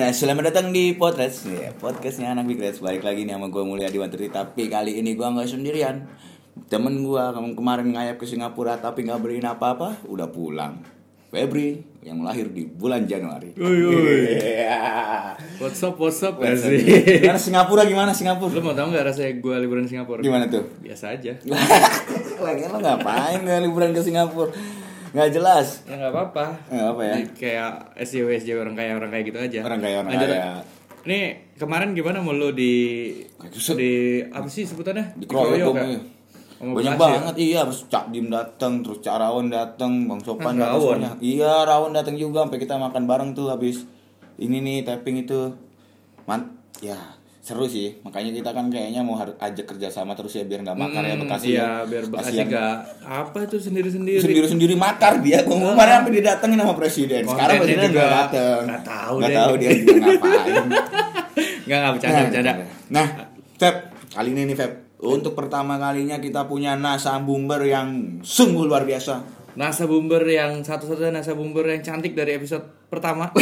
Ya, selamat datang di Potres. Ya, podcastnya anak Big Reds. Balik lagi nih sama gue Mulia Diwantri tapi kali ini gue nggak sendirian. Temen gue kamu kemarin ngayap ke Singapura tapi nggak beliin apa-apa, udah pulang. Febri yang lahir di bulan Januari. Uy, uy. Iya. What's up, what's up? Gimana Singapura gimana Singapura? Lo mau tau gak rasanya gue liburan di Singapura? Gimana tuh? Biasa aja. Lagi lo ngapain ya liburan ke Singapura? Nggak jelas. Ya gak apa-apa. Nggak apa ya? Kayak SJW, SJW orang kaya, orang kaya gitu aja. Orang kaya, orang Lanjut, kaya. Lan. Nih, kemarin gimana mau lo di... Buset. Di... Apa sih sebutannya? dikeroyok dong ya? iya. Sama banyak Bekasi ya? banget iya terus Cak Dim datang terus Cak Rawon datang Bang Sopan datang Ah, Rawon. semuanya. iya Rawon datang juga sampai kita makan bareng tuh habis ini nih tapping itu man ya seru sih makanya kita kan kayaknya mau harus ajak kerjasama terus ya biar nggak makar ya Hmm, Bekasi Iya, ya. biar Bekasi Kasihan. gak... Apa itu sendiri-sendiri? sendiri-sendiri makar dia Gua kemarin sampai didatengin sama presiden sekarang Ah. Kontennya presiden juga nggak dateng nggak tahu nggak deh. tahu dia juga ngapain Gak, gak bercanda, Nah, bercanda. Nah, Feb, kali ini nih Feb, untuk pertama kalinya kita punya nasa bumber yang sungguh luar biasa. Nasa Bumber yang satu-satunya Nasa Bumber yang cantik dari episode pertama.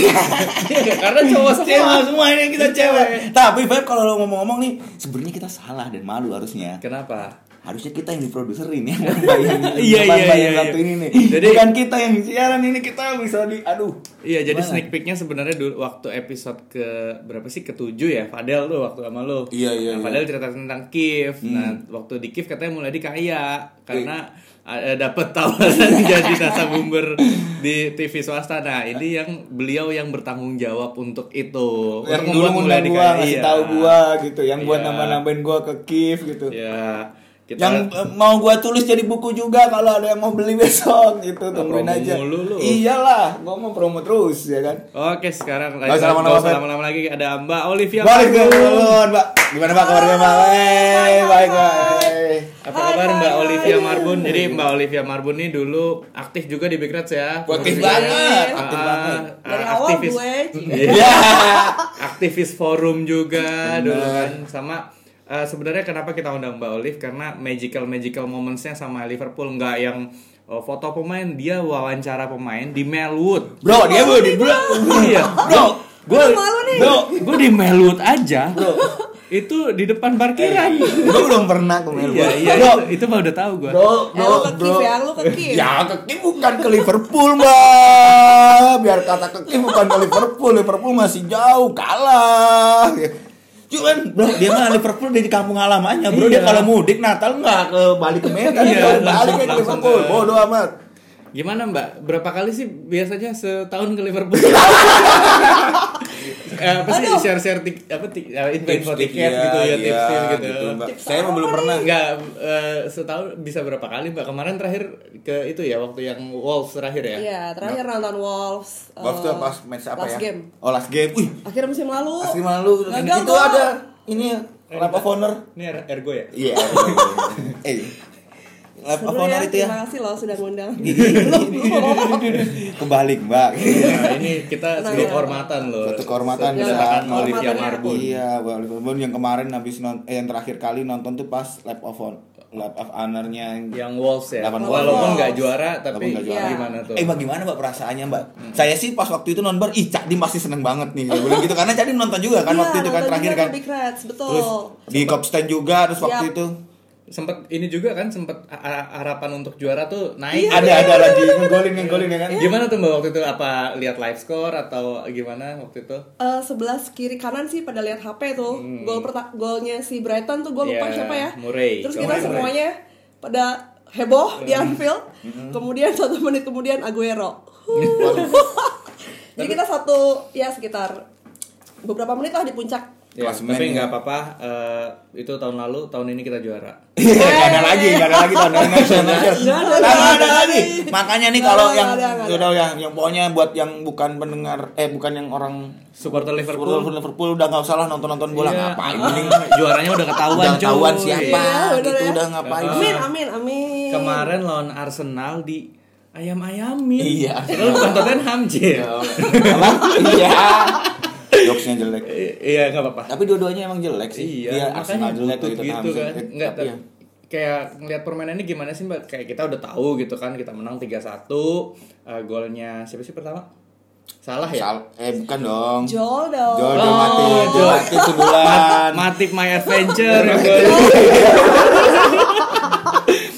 Karena cowok semua. semua ini kita cewek. Tapi Feb kalau lo ngomong-ngomong nih, sebenarnya kita salah dan malu harusnya. Kenapa? Harusnya kita yang diproduserin ya, bukan bayang, Iya, bukan iya, bayang iya, satu iya. ini nih. Jadi- bukan kita yang siaran ini kita bisa di, aduh. Iya, jadi Gimana? sneak peeknya sebenarnya dulu waktu episode ke berapa sih? Ketujuh ya, Fadel tuh waktu sama lo. Iya, iya, Hmm. Nah, iya. Fadel cerita tentang Kif. Nah, waktu di Kif katanya mulai di kaya karena eh, dapat tawaran jadi nasa bumber di TV swasta. Nah, ini yang beliau yang bertanggung jawab untuk itu. Yang Untuk dulu membuat Mulia ngundang Di gua, Kaya. ngasih Iya. tahu gua gitu, yang buat Iya. nambah-nambahin gua ke Kiev gitu. Iya. Kita yang eh, mau gua tulis jadi buku juga kalau ada yang mau beli besok gitu tungguin promo aja mulu lu. iyalah gua mau promo terus ya kan Oke, sekarang Nggak usah lama-lama, nggak usah Feb. lama-lama lagi ada Mbak Ya Olivia. balik kan, ke Magun. Bun, mbak gimana mbak kabarnya mbak Wey, baik baik Apa kabar Mbak Olivia Marbun? Jadi Mbak Olivia Marbun ini dulu aktif juga di Big Reds ya. Aktif Pengurus banget, juga. aktif Ah, banget. ah, Dari awal aktivis, Iya. gue, ya aktivis forum juga dulu kan sama eh, sebenarnya kenapa kita undang Mbak Olive karena magical magical momentsnya sama Liverpool nggak yang eh, foto pemain dia wawancara pemain di Melwood. bro dia bro di bro Iya. bro Gue malu nih. bro gue di Melwood aja. Itu di depan parkiran. gua belum pernah ke Melbourne Iya, iya, Eh. bro itu, itu mah udah tahu gue. bro Eh, bro lu ke bro Kiev ya, lu ke Kiev. ya ke Kiev bukan ke Liverpool mbak biar kata ke Kiev bukan ke Liverpool Liverpool masih jauh kalah kan. cuman bro dia mah Liverpool dari kampung halamannya bro dia Iya. kalau mudik Natal nggak ke balik ke Medan Iya, dia balik langsung- ke langsung Liverpool ke- bodoh amat Gimana Mbak? Berapa kali sih biasanya setahun ke Liverpool? Eh, apa sih Aduh. share-share tik, apa tik, eh, info-info tiket gitu ya tipsnya gitu. iya, Mbak. Tips saya mah belum pernah Enggak eh, setahun bisa berapa kali Mbak? Kemarin terakhir ke itu ya waktu yang Wolves terakhir ya. Iya, terakhir nonton Wolves. eh, Waktu pas match apa ya? last game. Oh, Oh last game. Wih, Akhir musim lalu. pasti malu. Gagal Itu gol. ada ini Lap of Honor. Ini er- ergo ya. Iya. Eh. Lap Seru of Honor ya, itu ya. Terima kasih loh sudah ngundang. Kebalik, Mbak. Nah, ini kita Nah, sebuah iya. kehormatan loh. Suatu kehormatan Suatu bisa. kehormatan Kehormatan Olivia aku. Marbun. Iya, Mbak Liverpool yang kemarin habis non eh, yang terakhir kali nonton tuh pas Lap of Honor. Lap of Honor-nya yang Yang Wolves ya. Lawan Walaupun Wolves. nggak juara Iya. Walaupun tapi nggak juara. gimana tuh? Eh bagaimana mbak perasaannya mbak? Saya sih pas waktu itu nonton, ih Cak Dim pasti seneng banget nih, Gua bilang gitu karena Cak Dim nonton juga kan Iya, waktu itu kan nonton terakhir juga kan, ke Big Iya. Reds, betul. terus di Kopstan juga, terus waktu Yap. itu sempat ini juga kan sempat a- a- harapan untuk juara tuh naik. Iya, gitu Iya. ya? ada ada lagi ngegolin ngegolin ya kan? Iya. Gimana tuh Mbak waktu itu apa lihat live score atau gimana waktu itu? Eh, sebelah kiri kanan sih pada lihat HP tuh. Gol perta- golnya si Brighton tuh gue lupa Iya, siapa ya. Murray. Terus Gol kita Murray. semuanya pada heboh di Anfield. Kemudian satu menit kemudian Aguero. Jadi kita satu ya sekitar beberapa menit lah di puncak. Ya, Klasemen ya. tapi nggak apa-apa. eh, itu tahun lalu, tahun ini kita juara. Gak Iya, ada lagi, gak ada lagi tahun dari National National. Nggak ada, Nggak nggak ada ada lagi. lagi. Makanya nih Nggak kalau ada, yang nggak ada, nggak udah yang yang pokoknya buat yang bukan pendengar eh bukan yang orang Supporter Liverpool Liverpool. Liverpool udah nggak usah lah nonton nonton bola Iya. ngapain Ah, mending juaranya udah ketahuan, udah ketahuan cuy. siapa Iya, bener gitu ya. udah ngapain Amin amin amin. Kemarin lawan Arsenal di ayam-ayamin. Iya. Lu bukan Tottenham Hamjir. Apa? Iya. Jokesnya jelek. I- Iya, nggak apa-apa. Tapi dua-duanya emang jelek sih. Iya, Dia makanya Arsenal jelek butuh gitu, gitu kan. Enggak tapi ya. kayak ngelihat permainannya gimana sih Mbak? Kayak kita udah tahu gitu kan, kita menang 3-1. eh, golnya siapa sih pertama? Salah ya? Sal- eh bukan dong. Jol dong. Jol, Oh, mati, Jol Jol. mati sebulan. Matip My Adventure ya, Boy.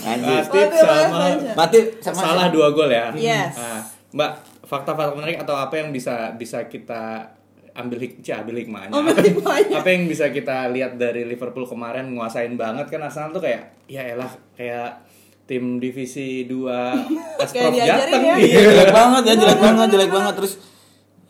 Anjir. Matip Matip My sama Adventure. Mati sama salah dua gol ya. Yes. Ah, Mbak, fakta-fakta menarik atau apa yang bisa bisa kita ambil hik Cih, ambil hikmahnya. Ambil Apa- hikmahnya. Apa yang bisa kita lihat dari Liverpool kemarin nguasain banget kan Arsenal tuh kayak ya elah kayak tim divisi 2 Asprof diajarin Jateng ya. Iya, iya. jelek banget ya, jelek banget, jelek banget terus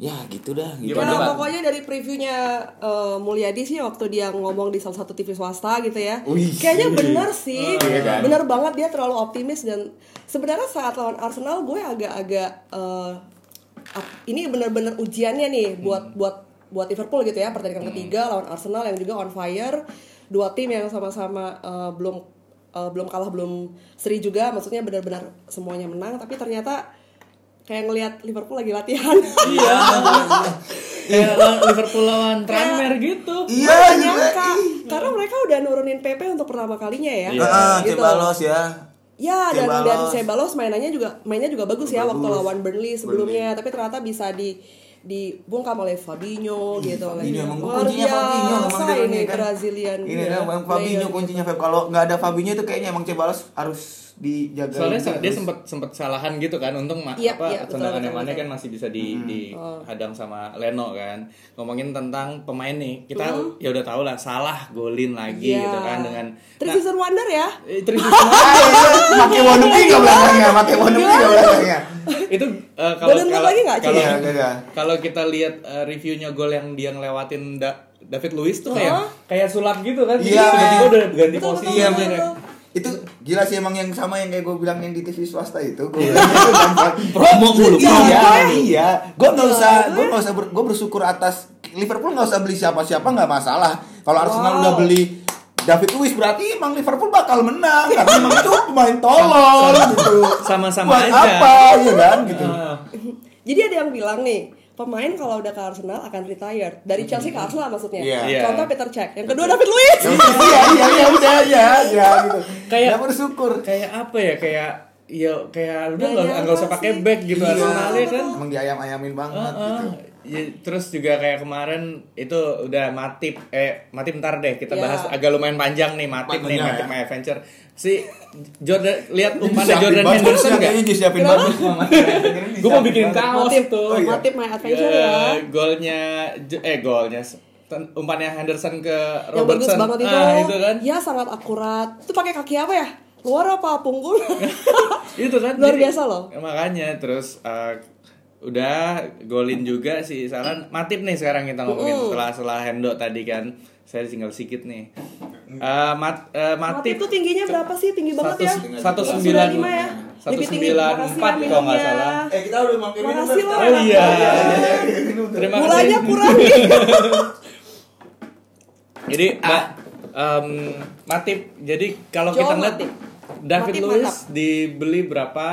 ya gitu dah gitu. Gimana, Ya, Pak? pokoknya dari previewnya eh, Mulyadi sih waktu dia ngomong di salah satu TV swasta gitu ya. Wih. Kayaknya bener sih. Iya kan? Bener banget dia terlalu optimis dan sebenarnya saat lawan Arsenal gue agak-agak eh, ap- ini bener-bener ujiannya nih Hmm. buat buat buat Liverpool gitu ya pertandingan ketiga lawan Arsenal yang juga on fire dua tim yang sama-sama eh, belum eh, belum kalah belum seri juga maksudnya benar-benar semuanya menang tapi ternyata kayak ngelihat Liverpool lagi latihan Iya. Kayak lawan Liverpool lawan Tranmere gitu. Iya, Gak iya. nyangka. karena mereka udah nurunin PP untuk pertama kalinya ya. Iya. Heeh, Gitu. Cebalos ya. Ya dan Cebalos. dan Cebalos mainannya juga mainnya juga bagus, ya waktu lawan Burnley sebelumnya, tapi ternyata bisa di dibungkam oleh Fabinho gitu oleh Ini emang luar kuncinya Fabinho emang biasa dia iya. ini ini kan. Brazilian Ini player. kan emang Fabinho kuncinya Feb. Kalau nggak ada Fabinho itu kayaknya emang Cebalos harus dijaga. Soalnya sa- dia Iya, Terus. sempat sempat salahan gitu kan, untung ma- Iya, apa iya, betul, tendangan yang betul, mana betul. Oh. kan masih bisa di Mm-hmm. dihadang sama Leno kan. Ngomongin tentang pemain nih, kita ya udah tau lah salah golin lagi Mm-hmm. Iya. gitu kan dengan Nah. Three Seasons Wonder ya. Eh, Tris Sulawesi. Ah, iya, iya. Pakai Wonu tiga belakangnya, ya? pakai Wonu tiga belakangnya. itu eh, kalau Golin kalau lagi nggak, Ci? kalau Iya, nggak ada. kalau kita lihat eh, reviewnya gol yang dia ngelewatin Da- David Luiz tuh kayak Hah? kayak sulap gitu kan. Jadi Iya. tiba-tiba udah ganti Betul, posisi. gitu kan. Iya, betul, bener. betul. Itu gila sih emang yang sama yang kayak gue bilang yang di TV swasta itu. Gue bilang itu gampang. Iya. Promo mulu, promo. Iya, iya. Gue nggak usah, gue nggak usah, gue bersyukur atas Liverpool nggak usah beli siapa-siapa nggak masalah. Kalau Arsenal Wow. udah beli David Luiz berarti emang Liverpool bakal menang karena emang itu pemain tolol gitu. Sama-sama Buat aja. apa ya kan gitu. Ah. Jadi ada yang bilang nih, pemain kalau udah ke Arsenal akan retire dari Chelsea ke Arsenal maksudnya. Iya. Iya. Contoh Peter Cech. Yang kedua David Luiz. iya iya iya udah ya ya gitu. Kayak- Kayak bersyukur. kayak apa ya kayak ya kayak udah Gak nggak nyangka nggak usah pakai sih. back gitu Iya. Arsenalnya kan Emang diayam-ayamin banget Heeh. gitu. Ya, terus juga kayak kemarin itu udah matip eh matip ntar deh kita Ya. bahas agak lumayan panjang nih matip nih Panjang matip ya. my adventure si Jordan lihat Umpannya umpannya Jordan Henderson nggak Kayaknya disiapin banget sama. gue mau bikin kaos Motif tuh Oh, iya. Motif my adventure Eh, ya. golnya Jo- eh golnya ten- umpannya Henderson ke yang bagus Robertson banget itu. ah itu kan Ya sangat akurat. Itu pakai kaki apa ya? Luar apa punggung? itu kan Luar biasa loh. makanya terus eh, udah golin juga si Salan Matip nih sekarang kita ngomongin setelah setelah Hendo tadi kan saya tinggal sedikit nih Eh, mat, eh, Matip Matip itu tingginya berapa sih? Tinggi banget ya. satu satu Satu sembilan sembilan lima ya. satu Lebih tinggi. sembilan Makasih empat ya kalau nggak minumnya. salah Eh kita udah mampir Makasih loh. oh iya terima Gulanya kasih kurang nih. jadi Ah. Mbak em, Matip jadi kalau Joel kita ngeliat Matip. David Matip Luiz mantap. dibeli berapa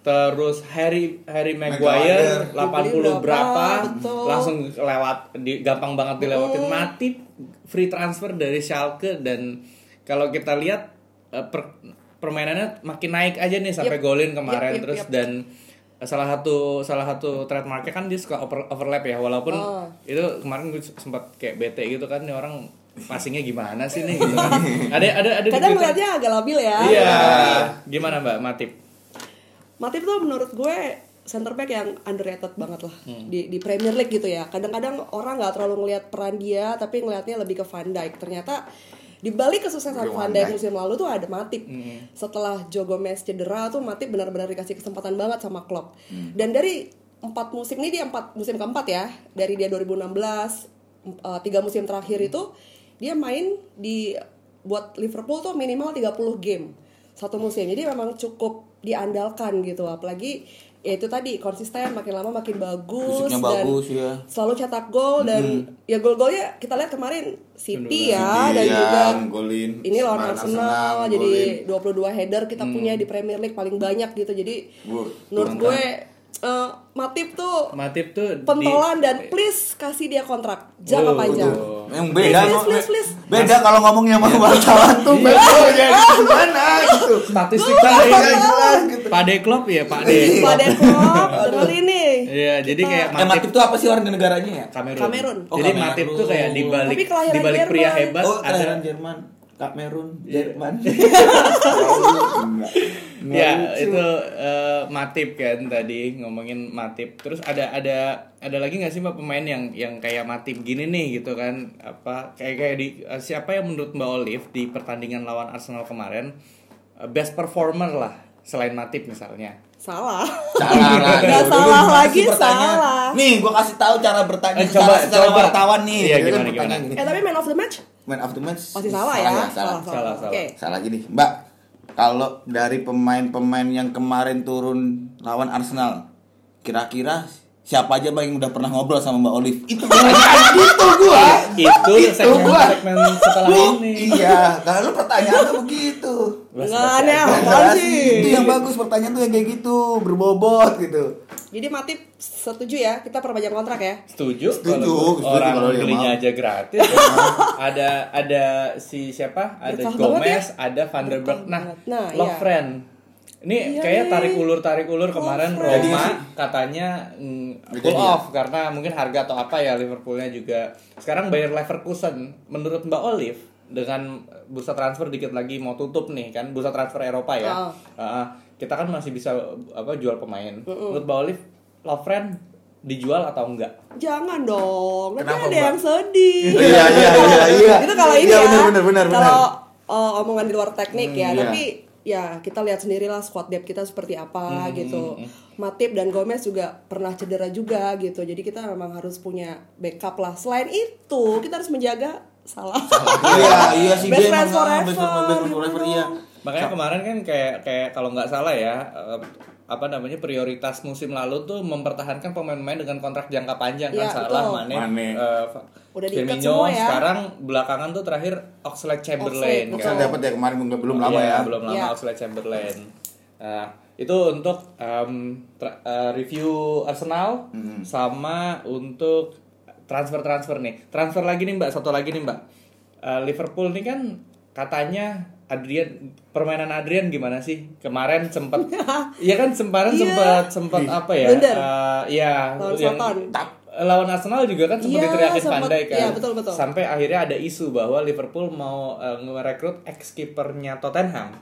terus Harry Harry Maguire. Maguire 80 Dibeli berapa, berapa, betul. langsung lewat di, gampang banget dilewatin Matip free transfer dari Schalke dan kalau kita lihat eh, per- permainannya makin naik aja nih sampai Yep. golin kemarin Yep, yep, terus yep. dan eh, salah satu salah satu trademarknya kan dia suka over- overlap ya walaupun Oh. itu kemarin gue sempat kayak bete gitu kan nih orang passingnya gimana sih nih gitu kan. ada ada ada di Twitter. Kadang melihatnya agak labil ya. iya gimana mbak Matip Matip tuh menurut gue center back yang underrated banget lah Hmm. di, di Premier League gitu ya. Kadang-kadang orang nggak terlalu ngelihat peran dia, tapi ngelihatnya lebih ke Van Dijk. Ternyata di balik kesuksesan Ke Van Van Dijk. Dijk musim lalu tuh ada Matip. Setelah Joe Gomez cedera tuh Matip benar-benar dikasih kesempatan banget sama Klopp. Mm. Dan dari empat musim ini dia empat musim keempat ya. Dari dia 2016 em- eh, tiga musim terakhir itu dia main di buat Liverpool tuh minimal 30 game satu musim. Jadi memang cukup diandalkan gitu apalagi ya itu tadi konsisten makin lama makin bagus Fisiknya bagus ya. selalu cetak gol dan ya gol-golnya kita lihat kemarin City ya dan Iya, juga golin. ini Serangan lawan Arsenal, Arsenal, jadi 22 header kita punya di Premier League paling banyak gitu jadi Wuh, menurut gue eh, Matip tuh Matip tuh di- pentolan dan please kasih dia kontrak jangka Wuh, panjang wuh. yang beda Please, kok, please, be- please. beda kalau ngomongnya sama wartawan tuh beda ya gimana gitu statistik Iya, tadi jelas gitu Iya. Pak De Klop ya Pak De pada klub dengerin nih Iya, jadi kayak Eh, Matip tuh apa sih warga negaranya ya? Kamerun. Kamerun. Oh, Jadi Kamerun. Matip tuh kayak di balik Tapi kelahiran di balik pria Jerman. Oh, hebat Iya. ada kelahiran Jerman. Kamerun, Jerman. ya itu eh, Matip kan tadi ngomongin Matip. Terus ada ada ada lagi nggak sih Mbak pemain yang yang kayak Matip gini nih gitu kan apa kayak kayak di eh, siapa yang menurut Mbak Olive di pertandingan lawan Arsenal kemarin eh, best performer lah selain Matip misalnya. Salah. Salah lagi. Udah, Nggak salah gimana sih lagi, pertanyaan? salah. Nih, gua kasih tahu cara bertanya Eh, coba, salah secara coba. wartawan nih. Iya, Gitu gimana, kan pertanyaan gimana? gini. Eh tapi man of the match Man of the match. masih salah, ya. Salah, Oh. salah. Salah, salah. Oke. Salah gini, Mbak. Kalau dari pemain-pemain yang kemarin turun lawan Arsenal, kira-kira siapa aja Mbak yang udah pernah ngobrol sama Mbak Olive? Itu pertanyaan gitu gua. Itu segmen- gua. segmen setelah Lu- ini. Iya, kalau lu pertanyaannya begitu. Enggak aneh Ya, apaan Jelas, Itu sih? yang bagus pertanyaan tuh yang kayak gitu, berbobot gitu. Jadi Matip setuju ya kita perpanjang kontrak ya. Setuju, Setuju, kalau setuju orang kalau dia belinya mau. aja gratis. ada ada si siapa? Ada Berkah Gomez, banget ada Vanderberg. Berkah Nah, banget. Nah, iya. Lovren. Ini Iya kayak nih. tarik ulur tarik ulur kemarin Lovren. Roma katanya mm, Jadi pull dia. off karena mungkin harga atau apa ya Liverpoolnya juga. Sekarang Bayer Leverkusen menurut Mbak Olive dengan bursa transfer dikit lagi mau tutup nih kan bursa transfer Eropa ya. Oh. Ah, kita kan masih bisa apa jual pemain. Menurut Mbak Olive Lovren dijual atau enggak? Jangan dong. Nanti Kenapa, ada Mbak? yang sedih. Iya, iya, iya, iya. Itu kalau ini Iya, ya. benar, benar, benar, Kalau benar. eh, omongan di luar teknik ya, iya. tapi ya kita lihat sendirilah squad depth kita seperti Hmm, apa gitu. Matip dan Gomez juga pernah cedera juga gitu. Jadi kita memang harus punya backup lah. Selain itu, kita harus menjaga salah. Iya, iya sih dia Best friends emang, ah, forever, best friend- best friend gitu forever, dong. iya. Makanya kemarin kan kayak kayak kalau nggak salah ya eh, apa namanya prioritas musim lalu tuh mempertahankan pemain-pemain dengan kontrak jangka panjang Iya, kan salah betul. Mane, Mane. eh, Fa- Udah diikat Firmino, semua ya. sekarang belakangan tuh terakhir Oxlade Chamberlain Saya kan. Oxlade, betul. dapat ya kemarin belum belum lama Iya, ya. belum lama Iya. Oxlade Chamberlain. Nah, itu untuk em, tra- eh, review Arsenal Mm-hmm. sama untuk transfer-transfer nih. Transfer lagi nih Mbak, satu lagi nih Mbak. Eh, Liverpool nih kan katanya Adrian permainan Adrian gimana sih? Kemarin sempat Iya kan sempat Iya. sempat sempat apa ya? Blunder. Eh, iya, Lawan yang- Southampton. Tap- lawan Arsenal juga kan sempat Iya, diteriakin sempat. Van Dijk kan. Iya, betul, betul. Sampai akhirnya ada isu bahwa Liverpool mau eh, ngerekrut ex kipernya Tottenham,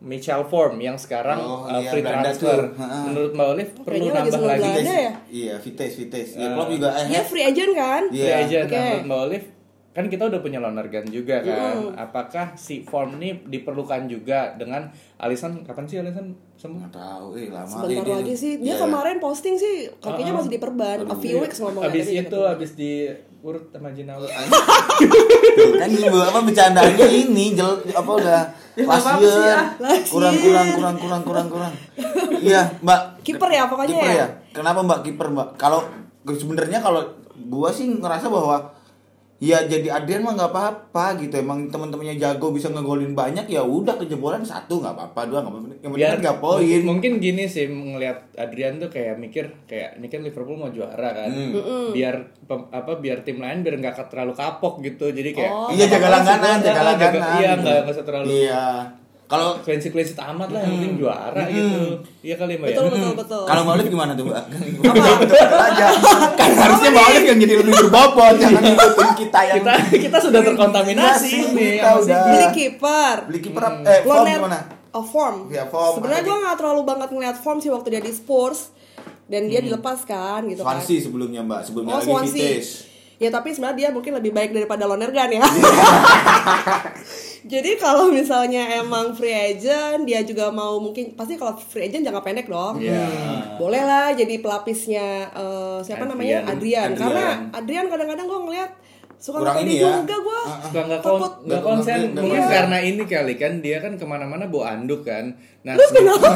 Michel Form yang sekarang Oh, eh, iya, free Belanda transfer. tuh. Ha-ha. Menurut Mbak Olive perlu Oh, kayaknya lagi nambah sebelum lagi Belanda. Ada ya? Iya, Vitesse, Vitesse. Ya, Klopp juga eh. Dia free agent kan? Iya. free agent. Nah, Oke. menurut Mbak Olive kan kita udah punya Lonergan juga kan. Apakah si Form ini diperlukan juga dengan Alisson kapan sih Alisson sembuh? Nggak tahu, eh lama. eh, Sebentar dia- lagi sih. Dia Iya. Uh-huh. kemarin posting sih kakinya masih diperban. A few weeks ngomongnya. Abis tapi dia itu diperban. abis diurut sama Jinawa. Tuh, kan ibu apa bercandaannya ini jel apa udah Ya, pasir Lasier. kurang kurang kurang kurang kurang kurang iya mbak Kiper ya, pokoknya Kiper ya? Oh, kenapa mbak kiper mbak kalau sebenarnya kalau gua sih ngerasa bahwa ya jadi Adrian mah nggak apa-apa gitu emang teman-temannya jago bisa ngegolin banyak ya udah kejebolan satu nggak apa-apa dua nggak apa-apa yang penting biar kan nggak poin mungkin gini sih ngelihat Adrian tuh kayak mikir kayak ini kan Liverpool mau juara kan Hmm. biar pem- apa biar tim lain biar nggak terlalu kapok gitu jadi kayak Oh. iya jaga apa-apa langganan sih, jaga ah, langganan iya gitu. nggak nggak usah terlalu iya kalau clean sheet clean sheet amat lah yang Hmm. penting juara gitu iya kali mbak Betul, ya betul, betul. Kalau Maulid gimana tuh mbak? Betul aja. Kan harusnya Maulid yang jadi lebih berbobot, jangan ngikutin kita yang kita kita sudah Iya, terkontaminasi Kita nih udah. sama si- Beli kiper. beli kiper apa- eh form Lonet- gimana? Oh, form. Ya, form. Sebenarnya gue nggak terlalu banget ngeliat form sih waktu dia di Spurs dan dia dilepas kan gitu kan. Hmm. Swansea sebelumnya mbak, sebelumnya Oh lagi Swansea. Vitesse. Ya tapi sebenarnya dia mungkin lebih baik daripada Lonergan Iya. ya. Jadi kalau misalnya emang free agent dia juga mau mungkin pasti kalau free agent jangka pendek dong. Iya. Boleh lah jadi pelapisnya eh, siapa namanya Adrian. Adrian. Adrian. Karena Adrian kadang-kadang gue ngeliat suka Kurang nggak ini pede ya. juga gue. suka nggak kon Takut. nggak konsen Nggak- nggak mungkin konsen. karena ini kali kan dia kan kemana-mana bawa anduk kan nah Kenapa?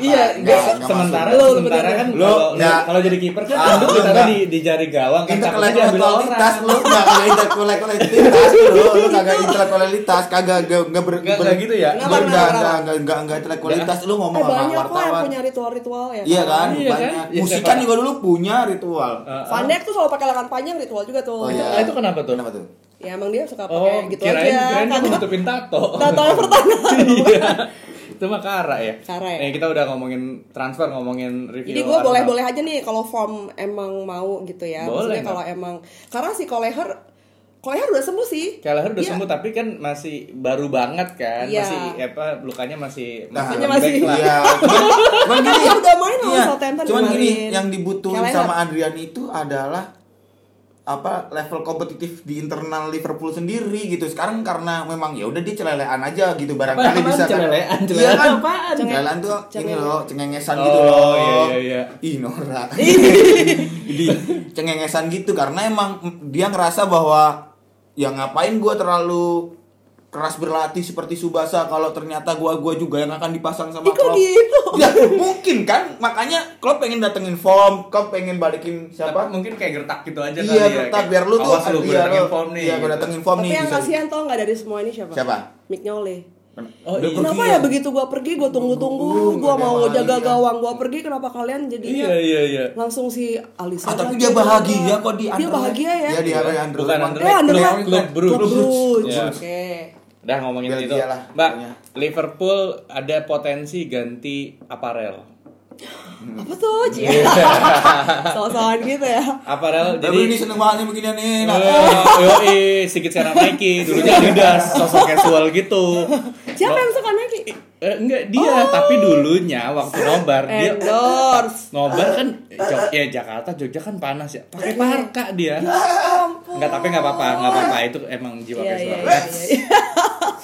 Iya, Nggak- dia- nggak sementara masuk. Lu- sementara bener. kan Lu kalau nggak- kalau jadi kiper kan Ah, anduk lu ditaruh nggak- di di jari gawang kan takutnya diambil Intelektualitas orang. lu nggak ada intelektualitas lu, lu kagak intelektualitas, kagak nggak nggak ber Nggak- nggak gitu ya? Lu Kenapa, nggak kenapa, nggak kenapa? nggak nggak nggak intelektualitas lu Eh, ngomong sama banyak kok yang Oh, wartawan. punya ritual-ritual ya. Iya kan, Iya kan? banyak. Iya, Musik siapa? kan juga dulu punya ritual. Van Dijk tuh selalu pakai lengan panjang ritual juga tuh. Oh, iya. Ah, itu kenapa tuh? Kenapa tuh? Ya emang dia suka Oh, pakai gitu kirain aja. kirain dia Karena- nutupin tato. Tato yang pertama. Iya. itu mah Kara ya. Kara Nah, ya. kita udah ngomongin transfer, ngomongin review. Jadi gue Arsenal. boleh-boleh aja nih kalau form emang mau gitu ya. Boleh, Maksudnya Kak. kalau emang karena si Koleher Koleher udah sembuh sih. Kelleher udah Iya. sembuh tapi kan masih baru banget kan. Iya. Masih apa lukanya masih Makanya lembek masih- Nah, Nah, lah. Iya, cuman, cuman Kan gini, dia udah main lawan iya, Southampton cuman gini, kemarin. yang dibutuhin Kelleher. sama Adrian itu adalah apa level kompetitif di internal Liverpool sendiri gitu. Sekarang karena memang ya udah dia celelean aja gitu barangkali Apaan bisa kan. celelean? Iya Celelean kan? apaan? Celelean tuh ini Cengeng. loh, cengengesan Oh, gitu loh. iya, iya, iya. Ih, Nora. Jadi cengengesan gitu karena emang dia ngerasa bahwa ya ngapain gua terlalu keras berlatih seperti Subasa kalau ternyata gua gua juga yang akan dipasang sama Ih, kok Klopp. gitu? Ya, mungkin kan makanya Klopp pengen datengin form, Klopp pengen balikin Tapi siapa? Mungkin kayak gertak gitu aja kali Iya, ya. tetap Kayak, biar lu tuh Awas lu gue iya, datengin lu- form nih. Iya, gua gitu. datengin form Tapi nih. yang bisa. kasihan tau nggak dari semua ini siapa? Siapa? Mignolet. Udah Oh, iya. pergi Kenapa ya begitu gua pergi gua tunggu-tunggu, gua Ada mau maling, jaga iya. gawang, gua pergi kenapa kalian Iya, jadinya iya, iya. langsung si Alisa. Ah, tapi lagi dia yang bahagia jaga. kok di Dia Anderlecht. bahagia ya. Iya, dia di Anderlecht. Bukan Emang- Anderlecht. Eh, Anderlecht. Klub- klub Brugge. Klub Brugge. Iya. Oke. Udah ngomongin Belgia itu. lah, Mbak, pokoknya. Liverpool ada potensi ganti aparel. Apa tuh? Ci? Sosokan gitu ya. Aparel Tapi jadi ini seneng banget nih beginian nih. Nah, Eh, Yoi, sedikit sekarang Nike, dulunya Adidas, sosok casual gitu. Siapa Mbak- yang suka Nike? Eh, enggak dia, Oh. tapi dulunya waktu nobar Eh, dia Endorse. nobar kan Jog- ya Jakarta Jogja kan panas ya. Iya. Pakai parka dia. Enggak, tapi enggak apa-apa, enggak apa-apa itu emang jiwa Nah, Iya, iya, casual. iya, iya.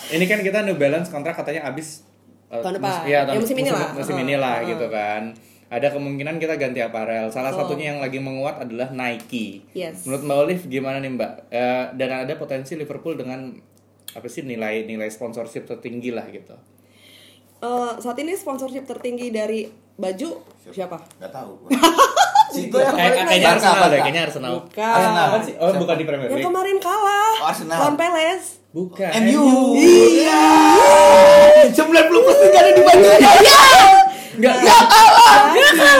Ini kan kita New Balance kontrak katanya habis eh, Tahun depan. mus- iya, tahun- Ya, musim ini lah. Musim Heeh, inilah heeh. gitu kan. Ada kemungkinan kita ganti aparel. Salah satunya yang lagi menguat adalah Nike. Yes. Menurut Mbak Olive gimana nih Mbak? Eh, dan ada potensi Liverpool dengan apa sih nilai nilai sponsorship tertinggi lah gitu. Eh, saat ini sponsorship tertinggi dari baju siapa? Enggak tahu. gua. Situ yang Kayak- paling kayaknya banyak. Arsenal Barca, deh, Barca. kayaknya Arsenal. Bukan. Arsenal. Apaan sih? Oh, Siapa? bukan di Premier Yang League. kemarin kalah. Arsenal. Lawan Peles. Bukan. MU. MU. Iya. 90% ada di bajunya. Enggak. Ya Enggak,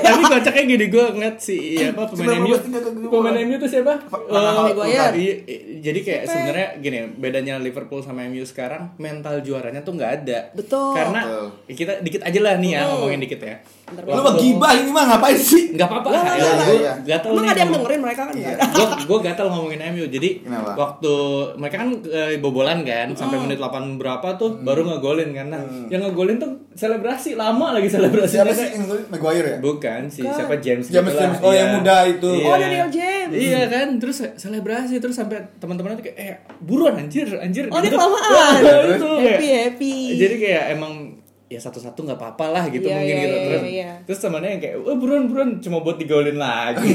tapi kocaknya gini gue ngeliat si iya, apa pemain Sebenarnya MU. gue tinggal ke gue. Pemain MU tuh siapa? Van Eh, Houweldt. iya, iya, jadi kayak sebenarnya gini, bedanya Liverpool sama MU sekarang mental juaranya tuh nggak ada. Betul. Karena kita dikit aja lah nih ya Betul. ngomongin dikit ya. Bentar, Lu mah gibah ini mah ngapain sih? Enggak apa-apa. Lah, lah, Ya, lah, gue lah. gatel nih Emang ada yang ngomong- dengerin mereka kan? Iya. nggak ada. gue gue gatel ngomongin MU jadi Kenapa? waktu mereka kan eh, bobolan kan sampai Mm. menit 8 berapa Mm. tuh baru ngegolin kan nah yang ngegolin tuh selebrasi lama lagi selebrasinya Siapa sih yang ngulit? Maguire ya? bukan sih siapa James James gitulah, James. Oh, iya. yang muda itu. Iya. Oh, Daniel James. iya kan terus selebrasi terus sampai teman-teman tuh kayak eh buruan anjir anjir Oh, dia Gitu. kelamaan. Wah, itu Happy happy. jadi kayak emang ya satu-satu nggak apa-apa lah gitu Iya, mungkin iya, gitu iya, terus iya, iya. terus temannya yang kayak oh, buruan buruan cuma buat digolin lagi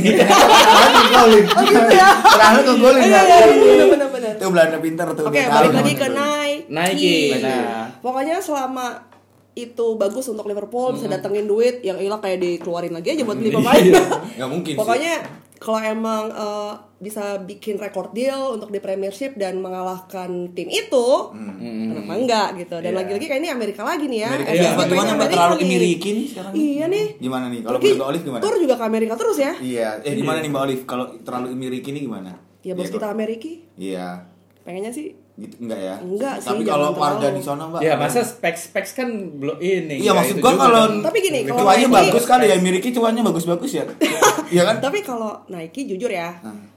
Golin. Terakhir ke golin Oh, gitu ya. Iya, ya. iya, iya, benar-benar. Itu Belanda pinter tuh. Oke, dia balik tahu. lagi ke Nike. Nike, nah. Pokoknya selama itu bagus untuk Liverpool bisa datengin duit yang ilah kayak dikeluarin lagi aja buat beli pemain. Iya. Nggak mungkin sih. Pokoknya kalau emang eh, bisa bikin record deal untuk di Premiership dan mengalahkan tim itu, kenapa enggak gitu? Dan Iya. lagi-lagi kayak ini Amerika lagi nih ya. Amerika FA iya, Cup bagaimana Mbak main Amerika terlalu nih. dimirikin sekarang? Iya nih. Gimana nih? Kalau Turki- menurut Mbak Olive gimana? Tur juga ke Amerika terus ya? Iya, eh gimana nih Mbak Olive kalau terlalu mirikin ini gimana? Ya bos kita Ameriki. Iya. Pengennya sih Gitu enggak ya? Enggak sih, Tapi jangan kalau warga terlalu. di sana, Mbak. ya masa specs specs kan belum ini Iya nggak maksud itu gua juga kalau kan. Tapi gini, kalau cuannya Nike- bagus kali ya, Miriki cuannya bagus-bagus ya. Iya kan? Tapi kalau Nike jujur ya, Hmm.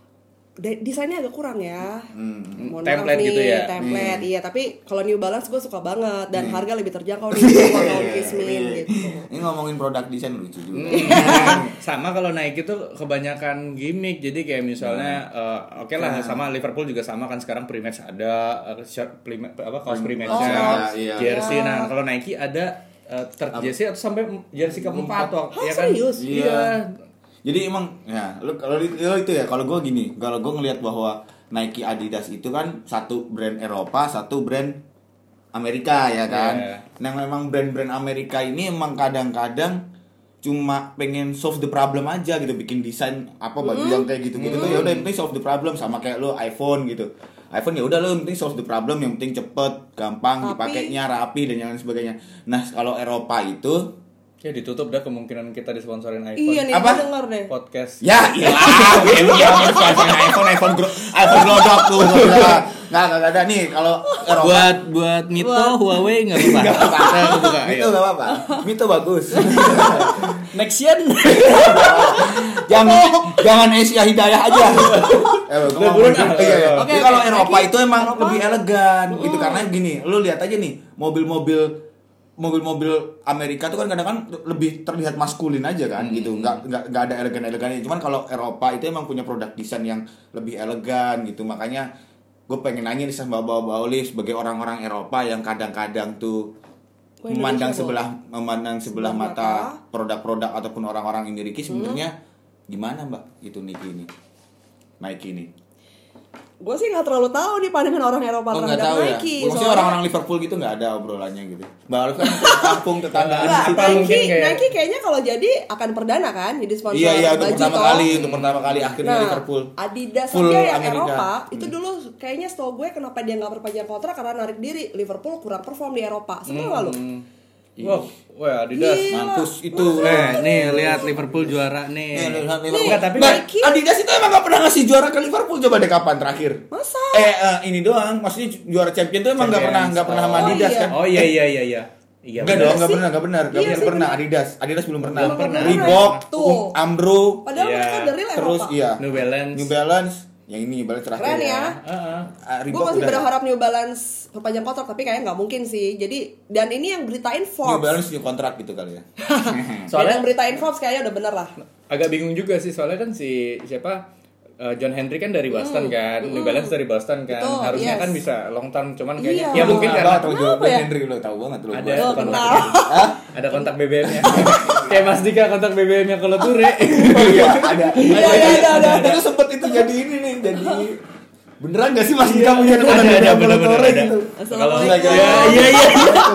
de- desainnya agak kurang ya. Mohon Template gitu ya. Template, Hmm. iya. Tapi kalau New Balance gue suka banget dan harga lebih terjangkau nih kalau tahun Iya, Kismin gitu. Ini ngomongin produk desain lucu juga. sama kalau naik itu kebanyakan gimmick jadi kayak misalnya eh, oke lah sama Liverpool juga sama kan sekarang pre-match ada eh, shirt pre-match apa kaos pre-matchnya kaos. Iya. jersey nah kalau Nike ada eh, third jersey atau sampai jersey keempat waktu Hah, ya kan serius? iya Jadi emang ya lu kalau itu itu ya kalau gue gini, kalau gue ngelihat bahwa Nike Adidas itu kan satu brand Eropa, satu brand Amerika ya kan. Iya. Nah memang brand-brand Amerika ini emang kadang-kadang cuma pengen solve the problem aja gitu bikin desain apa baju yang kayak gitu-gitu tuh ya udah yang penting solve the problem sama kayak lo iPhone gitu. iPhone ya udah lo yang penting solve the problem yang penting cepet, gampang Tapi- dipakainya rapi dan lain sebagainya. Nah kalau Eropa itu ya ditutup dah kemungkinan kita disponsorin iPhone Iya nih, Apa? gue denger deh. podcast Iya, Ya ilah, gue yang ngomong soal iPhone, iPhone, gro- iPhone glodok tuh. gua bilang. Nggak, nggak ada nih kalau Eropa. buat buat Mito Huawei nggak apa-apa. Saya kebuka, ayo. Mito gitu, nggak apa-apa. Mito bagus. Nexian. jangan Oh. jangan Asia Hidayah aja. eh, gua Udah ngomong buruan, gitu, ah. iya, iya. Oke, Jadi oke, kalau Eropa lagi. itu emang Eropa. Uh. lebih elegan gitu karena gini, lu lihat aja nih mobil-mobil mobil-mobil Amerika tuh kan kadang-kadang lebih terlihat maskulin aja kan Hmm. gitu nggak nggak nggak ada elegan-elegannya cuman kalau Eropa itu emang punya produk desain yang lebih elegan gitu makanya gue pengen nanya nih sama bawa-bawa Olive sebagai orang-orang Eropa yang kadang-kadang tuh Wah, Indonesia memandang boleh. sebelah memandang sebelah Sebelah mata mata. produk-produk ataupun orang-orang yang diriki Hmm. sebenarnya gimana mbak itu Nike ini Nike ini Gue sih nggak terlalu tahu nih pandangan orang Eropa oh nggak tahu terhadap Nike. ya maksudnya soalnya- orang-orang Liverpool gitu nggak ada obrolannya gitu mbak Alif kan kampung tetanggaan Nggak, Apa Nike, mungkin kayak- Nike kayaknya kalau jadi akan perdana kan jadi sponsor iya iya untuk baju pertama toh. kali untuk pertama kali akhirnya Nah, Liverpool Adidas Full aja yang Amerika. Hmm. Eropa itu dulu kayaknya setahu gue kenapa dia nggak perpanjang kontrak karena narik diri Liverpool kurang perform di Eropa. Hmm. Semua lalu. Hmm. Wow, wah Adidas. Gila. mampus itu Nah, nih lihat Liverpool juara nih. Eh, lihat Liverpool. Enggak, tapi kan Nah, Nike- Adidas itu emang gak pernah ngasih juara ke Liverpool coba deh kapan terakhir? Masa? Eh eh, ini doang, maksudnya juara champion tuh emang nggak pernah Champions. nggak pernah sama Oh, Adidas iya. kan? Oh iya iya iya iya. Iya. Enggak dong, benar. enggak Ya, sih. benar, enggak benar, enggak Iya benar sih, pernah benar. Adidas. Adidas belum pernah. Belum pernah. Reebok, Tuh. Um- Amro, Padahal Iya. mereka dari Eropa. terus iya. New Balance. New Balance, yang ini New Balance terakhir. Keren ya. Heeh. Ah, Gue Reebok masih udah. berharap New Balance perpanjang kontrak tapi kayaknya nggak mungkin sih. Jadi dan ini yang beritain New Forbes. Balance new kontrak gitu kali ya. Dan yang Soalnya beritain Forbes kayaknya udah bener lah. agak bingung juga sih soalnya kan si siapa eh, John Henry kan dari Boston kan, New Balance dari Boston kan, Betul, harusnya yes. kan bisa long term, cuman kayaknya Iya. ya mungkin Lu karena tahu juga Kenapa ya? Henry lo tahu banget lo. Iya, ada Tuh, kontak kenal. ada kontak BBM-nya, kayak Mas Dika kontak BBM-nya kalau ture, Iya, ada. Iya, iya, ada, ada, ada. Itu sempet itu jadi ini nih, jadi beneran gak sih Mas Iya. Dika punya Iya, Ada, kontak ada, dengan bener-bener Pelotore ada. gitu? kalau Assalamualaikum. ya iya iya,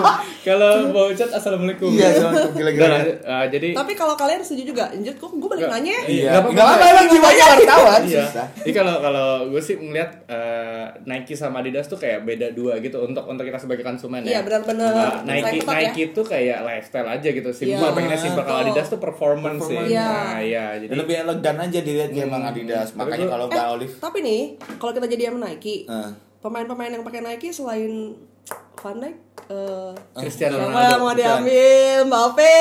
kalau mau chat assalamualaikum, Iya, assalamualaikum, gila-gila. Udah, eh, jadi Tapi kalau kalian setuju juga, Njut, kok gue balik Nggak. nanya ya? Iya. Nggak Enggak apa-apa emang jiwanya wartawan Iya. Kan susah. Jadi kalau kalau gue sih melihat eh, Nike sama Adidas tuh kayak beda dua gitu untuk untuk kita sebagai konsumen ya. Iya, benar-benar. Nah, Saya Nike ketat ya. Nike tuh kayak lifestyle aja gitu. Simpel Iya, pengennya simpel. Kalau betul. Adidas tuh performance, Performance. sih. Iya. Nah, iya. Jadi Dan lebih elegan ya aja dilihatnya emang Adidas. Tapi Makanya gua- kalau Eh, Mbak Olive tapi nih, kalau kita jadi sama Nike, Eh. pemain-pemain yang pakai Nike selain Van Dijk, eh, Ah, Cristiano siapa Ronaldo. yang mau diambil Mbappe?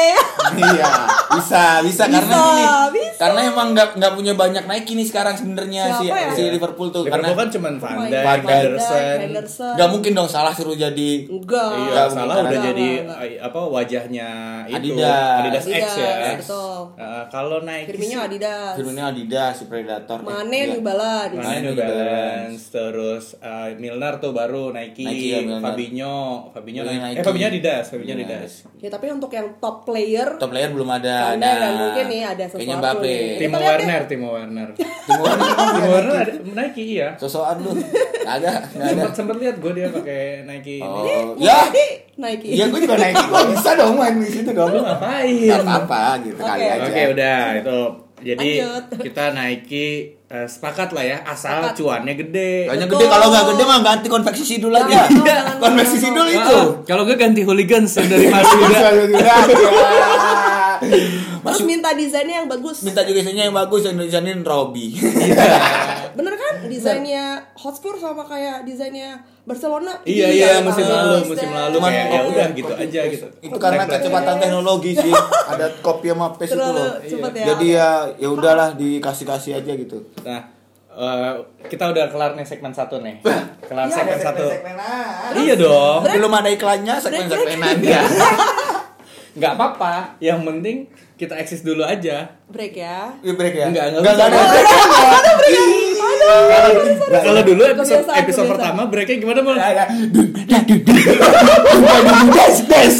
iya, bisa, bisa, Bisa, karena gini, bisa. karena emang nggak nggak punya banyak naik ini sekarang sebenarnya si Siapa ya? si Liverpool tuh Iya. Liverpool karena kan cuman Van Pemain Dijk, Van Dijk, Henderson. Henderson. nggak mungkin dong salah suruh jadi Enggak. Iya, Nggak salah mungkin. udah Nggak, jadi nggak, eh, apa wajahnya itu Adidas. Adidas, X ya. Adidas, Iya, betul. Eh, kalau Nike Firmino sih- Adidas. Firmino Adidas, si Predator. Eh, Mane iya. New Balance. Mana New Balance, Nah, terus uh, Milner tuh baru Nike, Nike, ya, Milner. Fabinho, Fabinho Beli Nike. Nike. Eh Fabinho Adidas, Fabinho Adidas. Adidas. Ya tapi untuk yang top player, Top player belum ada. nah, Kandai dan mungkin nih ada sesuatu Kayaknya Mbappe. nih. Timo lihat Werner, Timo Werner. Timo Werner. Timo Werner ada Nike iya. Sosokan lu. Kagak, nggak ada. Sempat sempat lihat gue dia pakai Nike. Oh, Ini ya. jadi eh, Nike. Ya gue juga naik kok bisa dong main di situ dong. Lu Gak ngapain? apa-apa gitu Oke. kali aja. Oke udah itu. Jadi Lanjut. kita Nike eh, sepakat lah ya asal Sepakat. cuannya gede. Kayaknya gede kalau nggak gede mah ganti konveksi sidul aja. Jangan, jangan, jangan, konveksi jangan. sidul itu. Ah, kalau gue ganti hooligans yang dari Mas Bisa Yuda. juga. Terus Masuk minta desainnya yang bagus. minta juga isinya yang bagus yang desainin Robby. Bener kan? Desainnya Hotspur sama kayak desainnya Barcelona. Iya iya Iya, musim bagus lalu deh. musim lalu Cuman kayak ya kopi- udah gitu kopi aja paste. gitu. Itu karena Black- kecepatan teknologi sih. Ada kopi sama paste itu Terlalu loh. cepet ya. Jadi ya ya udahlah dikasih-kasih aja gitu. Nah, eh, kita udah kelar nih segmen satu nih. Kelar Iya, segmen satu. Iya dong. Iya. Belum ada iklannya, segmen-segmenannya. Nggak apa-apa. Yang penting kita eksis dulu aja. Break ya. Di break ya? Enggak, enggak enggak bisa. ada break. Iya, Kalau kalau dulu episode Nah, episode iya. Kebiasaan, kebiasaan. Nah, pertama breaknya gimana mal? Des, des.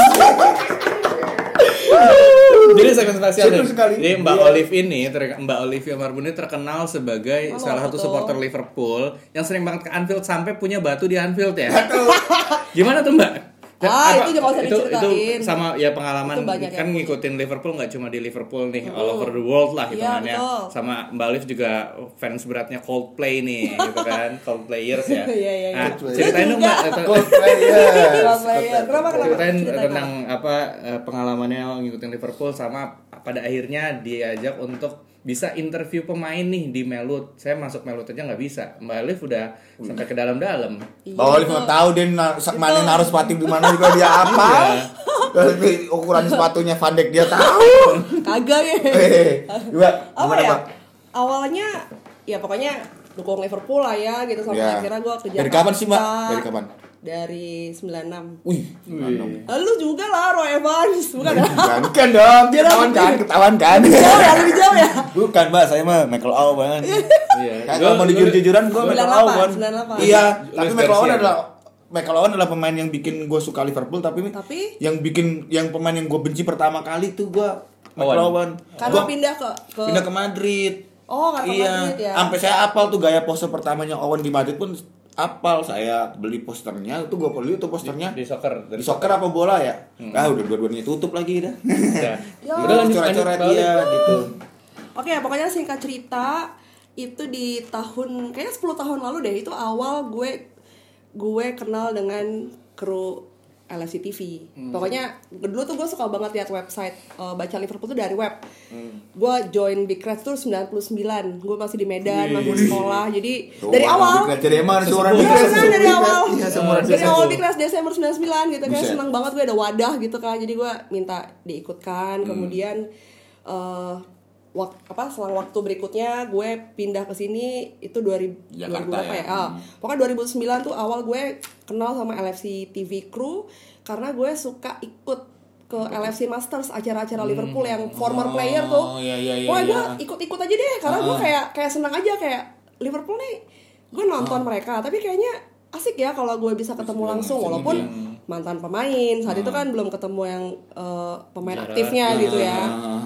Jadi segmen spesial. Seru nih. sekali. Jadi Mbak Iya. Olive ini, ter- Mbak Olivia Marbun ini terkenal sebagai Mana salah satu betul. supporter Liverpool yang sering banget ke Anfield sampai punya batu di Anfield ya. Gimana tuh Mbak? Ah, Apa- itu nggak itu, usah itu diceritain. sama ya pengalaman Itu banyak kan yang punya. ngikutin Liverpool nggak cuma di Liverpool nih, all over the world lah Iya, hitungannya. betul. sama Mbak Olive juga fans beratnya Coldplay nih, gitu kan, Coldplayers ya. Iya, iya, iya. Nah, Coldplay. ceritain dong Mbak, atau- Coldplay, yes. Coldplay, ya. Kenapa, kenapa? ceritain Ceritain tentang apa eh, pengalamannya ngikutin Liverpool sama pada akhirnya diajak untuk bisa interview pemain nih di Melut. Saya masuk Melut aja nggak bisa. Mbak Olive udah sampai ke dalam-dalam. Iya. Bawa Olive nggak tahu deh na- sa- mana naruh sepatu di mana juga dia apa. Tapi ukuran sepatunya Van Dijk dia tahu. kagak ya Eh, Juga apa gimana ya Pak? awalnya ya pokoknya dukung Liverpool lah ya gitu sampai Ya. akhirnya gue ke Dari kapan sih, Mbak? Jakarta. Dari kapan? dari 96 Wih, Iya. Wih. Eh, lu juga lah Roy Evans bukan ya Bukan, bukan dong, ketahuan kan, ketahuan kan. jauh ya lebih jauh ya Bukan mbak, saya mah Michael Owen. Iya. Kan kalau mau jujur-jujuran gue Michael 98, Owen. 98. Iya, tapi Luis Michael Owen Garcia. adalah Michael Owen adalah pemain yang bikin gue suka Liverpool tapi, Tapi? yang bikin yang pemain yang gue benci pertama kali tuh gue Michael Owen. karena Gua pindah ke ke pindah ke Madrid. Oh, nggak ke iya. Madrid ya. Sampai saya apal tuh gaya pose pertamanya Owen di Madrid pun apal saya beli posternya itu gue beli tuh posternya Di soccer. Hmm. di Dari soccer apa bola ya? Ah udah dua-duanya tutup lagi dah. Ya. Ya. Udah lanjut lanjut coret-coret Mbak Olive. dia gitu. Oke, ya, pokoknya singkat cerita itu di tahun kayaknya 10 tahun lalu deh itu awal gue gue kenal dengan kru LFC TV. Hmm. Pokoknya dulu tuh gue suka banget lihat website eh, baca Liverpool tuh dari web. Hmm. Gue join Big Reds tuh 99. Gue masih di Medan, masih sekolah. Jadi dari awal Jadi emang ada seorang Iya Big Reds. kan dari awal Iya, seumuran Big Dari Reds. awal di kelas Desember 99 gitu kan Buset. Senang banget gue ada wadah gitu kan Jadi gue minta Hmm. diikutkan Kemudian eh wak- apa selang waktu berikutnya gue pindah ke sini itu 2000 Jakarta 2000 apa ya? ya? Ah, pokoknya 2009 tuh awal gue kenal sama LFC TV crew karena gue suka ikut ke LFC Masters acara-acara Liverpool Hmm. yang former player tuh. iya, iya, iya, Ah. Wah, gue iya. Oh, ikut-ikut aja deh karena gue kayak kayak senang aja kayak Liverpool nih gue Ah. nonton mereka tapi kayaknya asik ya kalau gue bisa ketemu langsung walaupun iya. mantan pemain saat Ah. itu kan belum ketemu yang eh, pemain aktifnya Iya, gitu ya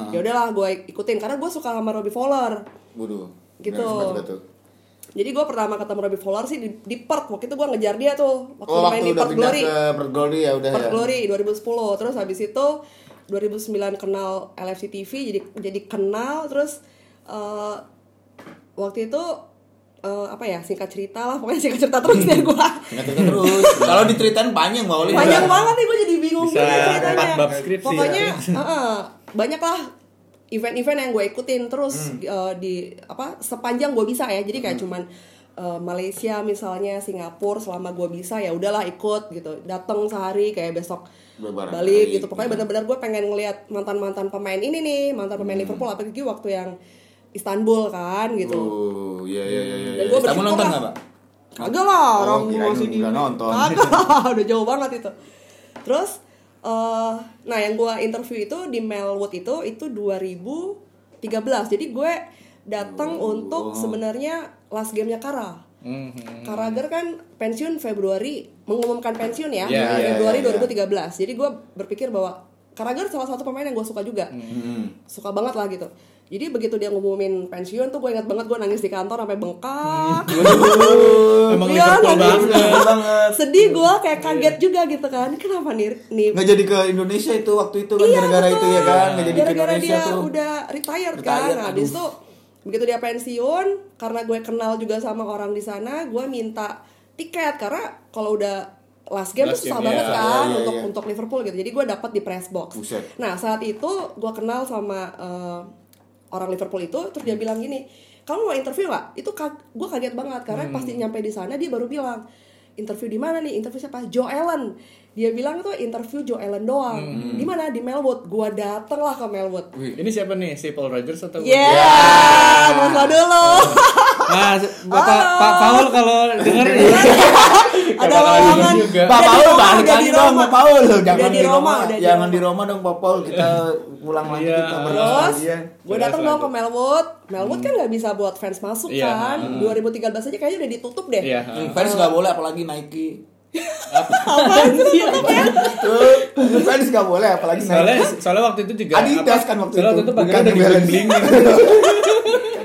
ya udahlah gue ikutin karena gue suka sama Robbie Fowler Waduh. Gitu. Nggak sempat tuh. jadi gue pertama ketemu Robbie Fowler sih di, di Perth waktu itu gue ngejar dia tuh waktu Oh, waktu main di udah Perth pindah Glory ke Perth Glory ya udah Perth ya. Glory 2010 terus habis itu 2009 kenal LFC TV jadi jadi kenal terus eh, waktu itu eh, apa ya singkat cerita lah pokoknya singkat cerita terus deh gue Nggak cerita terus. Kalau diceritain panjang Mbak Oli. banyak banget nih gue jadi bingung Bisa gitu ceritanya empat bab skripsi ya. pokoknya eh, banyak lah event-event yang gue ikutin terus Hmm. eh, di apa sepanjang gue bisa ya jadi kayak cuman eh, Malaysia misalnya Singapura selama gue bisa ya udahlah ikut gitu datang sehari kayak besok Beberapa balik hari. gitu Hmm. pokoknya benar-benar gue pengen ngelihat mantan-mantan pemain ini nih mantan pemain Hmm. Liverpool apalagi waktu yang Istanbul kan gitu Oh, iya iya iya iya. Dan Kamu gua bersyukur nonton lah. enggak, Pak? Kagak lah, Oh, orang kirain masih di udah nonton. Kagak, udah jauh banget itu. Terus eh nah yang gua interview itu di Melwood itu itu 2013. Jadi gue datang Oh. untuk sebenarnya last gamenya Kara. Mhm. Karager kan pensiun Februari mengumumkan pensiun ya Iya, iya, Februari iya, iya. 2013. Jadi gue berpikir bahwa Karager salah satu pemain yang gue suka juga Mhm. suka banget lah gitu jadi begitu dia ngumumin pensiun tuh gue ingat banget gue nangis di kantor sampai Mhm. bengkak Emang Iya, Liverpool nangis. banget. sedih gue kayak kaget juga gitu kan kenapa nih nih Nggak jadi ke Indonesia itu waktu itu kan Nah, gara-gara itu ya kan. Nggak jadi ke Iya, gara-gara Indonesia dia tuh. udah retired, kan Retired, Nah, habis itu begitu dia pensiun karena gue kenal juga sama orang di sana gue minta tiket karena kalau udah last game Last tuh susah game, banget iya, kan iya, untuk iya. untuk Liverpool gitu jadi gue dapat di press box Buset. nah saat itu gue kenal sama eh, orang Liverpool itu terus dia bilang gini kamu mau interview nggak itu kag- gue kaget banget karena pasti nyampe di sana dia baru bilang interview di mana nih interview siapa Joe Allen dia bilang tuh interview Joe Allen doang di mana di Melwood gue dateng lah ke Melwood Ini siapa nih? Si Paul Rogers atau? Iya. Yeah, yeah. dulu. Nah, Bapak Pak Paul kalau denger bakalan Ada denger lowongan. juga. Pak Udah Paul di Roma, balik udah lagi di dong Roma. Pak Paul Udah jangan di di Roma, Roma udah di jangan Roma. di Roma dong Pak Paul kita pulang lagi Iya. kita Terus, berlagi ya. gue datang dong ke Melwood. Melwood Hmm. kan nggak bisa buat fans masuk Iya, kan. 2013 aja kayaknya udah ditutup deh. Iya. Hmm, Fans nggak boleh apalagi Nike. Apaan sih ditutup ya? Tuh, fans nggak boleh apalagi Soalnya Nike. soalnya waktu itu juga Adidas kan waktu soalnya itu, waktu itu bukan pagarnya udah New Balance. dibeling-belingin.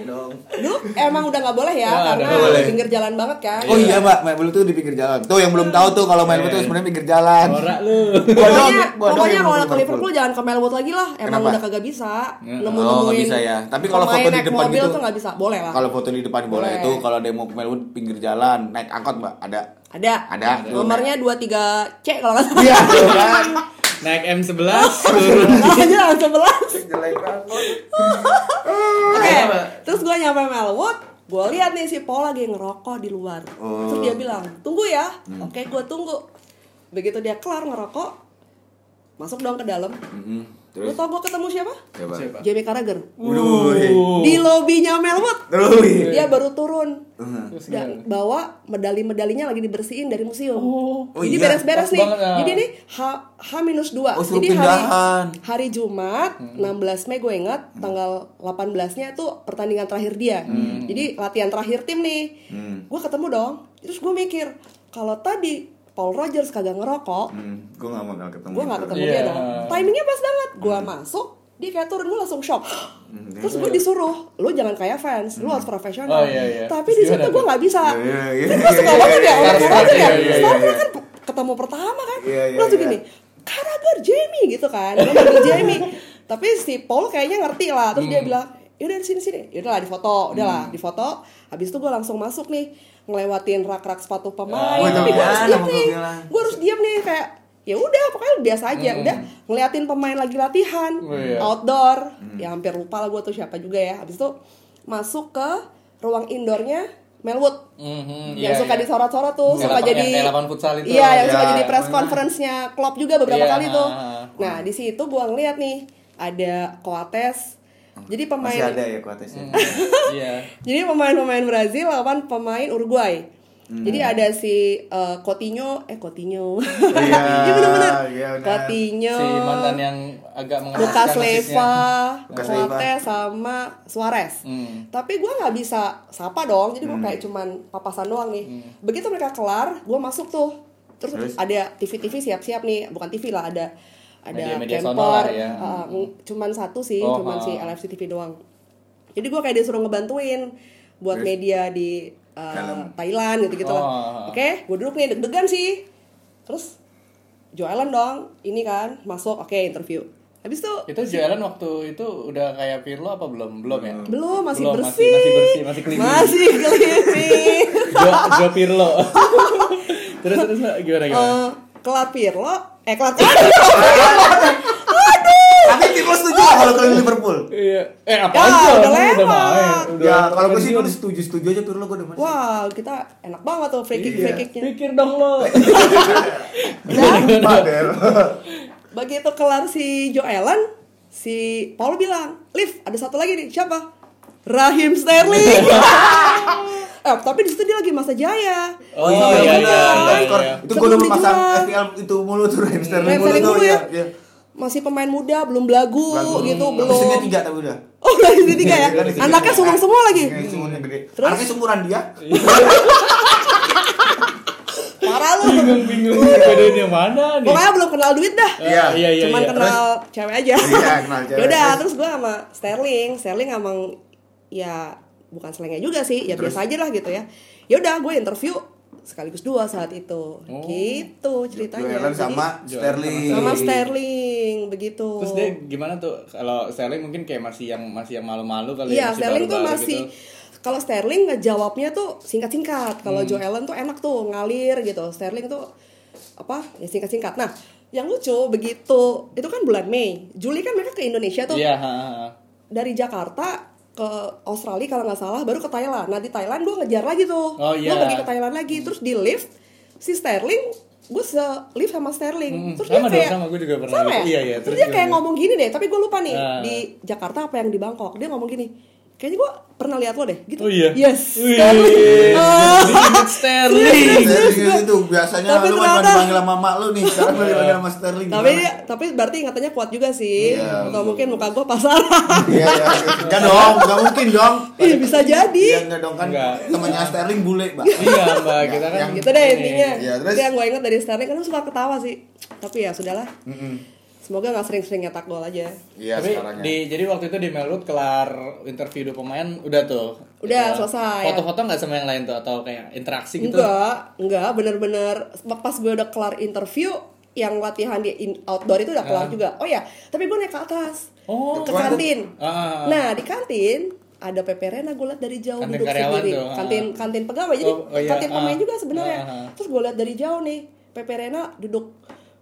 Dong. Dulu emang udah nggak boleh ya, Nggak, karena nggak boleh. di pinggir jalan banget kan. Oh iya mbak, main bulu tuh di pinggir jalan. Tuh yang belum tahu tuh kalau main bulu tuh sebenarnya pinggir jalan. Norak lu. Pokoknya, Gua dong pokoknya yang kalau dukung ke Liverpool jangan ke Melwood lagi lah. Emang Kenapa? udah kagak bisa. Nemu Oh, nggak bisa ya. Tapi kalau foto di depan mobil gitu. tuh nggak bisa. Boleh lah. Kalau foto di depan boleh Boleh. itu kalau demo ke Melwood pinggir jalan naik angkot mbak ada. Ada. Ada. Nomornya 23 C kalau nggak salah. Iya tuh kan. naik M11 turun Aja sebelas. jelek banget Oke, terus gue nyampe Melwood, gue lihat nih si Paul lagi ngerokok di luar. Terus dia bilang, tunggu ya. Oke, gue tunggu. Begitu dia kelar ngerokok, masuk dong ke dalam. Mm-mm. Mm-hmm. Lu Terus ya, tau gue ketemu siapa? coba. Siapa? Jamie Carragher. Uh. Wuih. Oh. Di lobinya Melwood. Wuih. Dia baru turun Mm-hmm. Terus gimana? dan bawa medali-medalinya lagi dibersihin dari museum. Oh iya, Jadi beres-beres pas nih. banget, ah. Jadi nih H H minus dua. Oh, suruh Jadi hari pindahan. hari Jumat Hmm. 16 Mei gue ingat tanggal 18-nya tuh pertandingan terakhir dia. Hmm. Jadi latihan terakhir tim nih. Hmm. Gue ketemu dong. Terus gue mikir kalau tadi Paul Rogers kagak ngerokok, Hmm, gue gak bakal ketemu. gue gak itu. ketemu Iya. dia dong. Timingnya pas banget. Gue masuk dia kayak turun gue langsung shock Hmm. terus gue disuruh lo jangan kayak fans lo harus Iya. profesional Oh, iya, iya. tapi di Terus gimana situ gue tuh? nggak bisa Iya, iya, Kan gue suka iya, banget iya, ya orang iya, Carragher iya, ya iya, Sekarang iya. kan ketemu pertama kan Iya, iya, Lo tuh iya. gini Carragher Jamie gitu kan Gue manggil Jamie Tapi si Paul kayaknya ngerti lah Terus dia Hmm. bilang Yaudah di sini sini Yaudah lah di foto Udah lah di foto Habis itu gue langsung masuk nih Ngelewatin rak-rak sepatu pemain Oh, itu Tapi gue harus kan, diem sama nih gua bilang. Gue harus diem nih kayak ya udah pokoknya biasa aja udah ngeliatin pemain lagi latihan Hmm. Oh, iya. outdoor ya hampir lupa lah gue tuh siapa juga ya habis itu masuk ke ruang indoornya Melwood Mhm, yang iya, Mm-hmm, suka iya. disorot-sorot tuh Yang suka lapangan- jadi yang lapangan futsal itu. iya yang suka Ya, jadi press yang mana? conference-nya Klopp juga beberapa Iya. kali tuh nah di situ gua ngeliat nih ada Coates jadi pemain Masih ada ya kuatesnya. Iya. jadi pemain-pemain Brazil lawan pemain Uruguay Hmm. jadi ada si eh, Coutinho eh Coutinho Iya, Iya bener-bener iya bener. Coutinho Si mantan yang agak mengenaskan Lukas Leva, Lucas Coates sama Suarez. Hmm. Tapi gue nggak bisa sapa dong, jadi gue kayak cuman papasan doang nih. Hmm. Begitu mereka kelar, gue masuk tuh. Terus, Terus? ada TV-TV siap-siap nih, bukan TV lah, ada ada Media-media camper. sonor lah ya. Ah, ng- cuman satu sih, Oh, cuman ah. si LFC TV doang. Jadi gue kayak disuruh ngebantuin buat Terus? media di eh, Dalam. Thailand gitu-gitu Oh, lah. ah, ah. Oke, gue duduk nih deg-degan sih. Terus Joellen dong, ini kan masuk, oke interview. Habis itu Itu jualan waktu itu udah kayak Pirlo apa belum? Belum ya? belum masih Belum, bersih, Masih, masih bersih, masih clean. Iya. Masih cleaning. Jo, Jo Pirlo. terus terus gimana gimana? Eh, kelar Pirlo, eh kelar Tapi gue setuju lah kalau kalian Liverpool. Iya. Eh apa Ya, aja? udah lewat. Ya, kalau gue sih gue setuju setuju aja Pirlo gue demen. Wow, kita enak banget tuh free kick free Iya. kicknya. Pikir dong lo. Padahal. Begitu kelar si Joellen, si Paul bilang, Liv ada satu lagi nih, siapa? Rahim Sterling. eh, tapi di situ dia lagi masa jaya. Oh, iya, iya, iya, skor. iya. Itu gue udah Sebelum pasang dijual. FPL itu mulu tuh Raheem Sterling Rahim mulu Sterling tuh. dulu Iya, ya. iya. Masih pemain muda, belum belagu, gitu, Tapi belum. setnya tiga tapi udah. Oh, Rahim Sterling tiga ya. Kan di tiga. Anaknya sumang semua lagi. Iya, sumurnya gede. Terus? Anaknya sumuran dia. Parah lu. Bingung-bingung bedanya mana nih? Pokoknya belum kenal duit dah. Iya. Iya iya Cuman iya. kenal cewek aja. Iya, kenal cewek. Yaudah, Terus? terus gue sama Sterling. Sterling emang ya bukan selengnya juga sih, ya biasa aja lah gitu ya. Yaudah, gue interview sekaligus dua saat itu. Gitu ceritanya. Duelan Jadi, Oh. sama Jadi- Sterling. sama Sterling begitu. Terus dia gimana tuh kalau Sterling mungkin kayak masih yang masih yang malu-malu kali ya, Iya, masih Sterling tuh baru-baru masih gitu. kalau Sterling ngejawabnya tuh singkat-singkat. Hmm. Kalau Joe Allen tuh enak tuh ngalir gitu. Sterling tuh apa? Ya singkat-singkat. Nah, yang lucu begitu itu kan bulan Mei. Juli kan mereka ke Indonesia tuh Iya, ha, ha, ha. dari Jakarta ke Australia kalau nggak salah baru ke Thailand. Nah, di Thailand gue ngejar lagi tuh. Oh, Gue iya. pergi ke Thailand lagi terus di lift si Sterling gue se lift sama Sterling Hmm, terus sama dong, dia kayak sama. Gua juga pernah sama gitu. ya? Iya, iya, terus, terus dia kayak gimana? ngomong gini deh tapi gue lupa nih Ah. di Jakarta apa yang di Bangkok dia ngomong gini kayaknya gue pernah lihat lo deh gitu Oh iya. yes Wih. Sterling Ah. Diinget Sterling. Sterling itu biasanya Tapi lu kan cuma ternyata- Iya. dipanggil sama mak lu nih, sekarang lu dipanggil sama Sterling. tapi Gimana? dia- tapi berarti ingatannya kuat juga sih Iya. atau mungkin muka gue pasaran Iya, iya. Enggak dong, enggak mungkin dong. Ih, bisa jadi Iya, enggak dong kan Enggak. temannya Sterling bule, Mbak. Iya, Mbak, kita kan Yang- gitu deh intinya Iya, terus? itu yang gue ingat dari Sterling kan suka ketawa sih tapi ya sudahlah semoga nggak sering-sering nyetak gol aja Iya, Tapi sekarang ya. di, jadi waktu itu di Melwood kelar interview dua pemain udah tuh. Udah, Ya. selesai. Foto-foto nggak sama yang lain tuh atau kayak interaksi gitu? enggak enggak bener-bener pas gue udah kelar interview yang latihan di in- outdoor itu udah kelar juga oh ya tapi gue naik ke atas Ah. Oh, ke kemarin. kantin Ah. nah di kantin ada Pepe Rena gue liat dari jauh Kantin duduk karyawan sendiri tuh, ah. kantin kantin pegawai jadi Oh, oh iya, kantin pemain ah. juga sebenarnya Ah, ah. terus gue liat dari jauh nih Pepe Rena duduk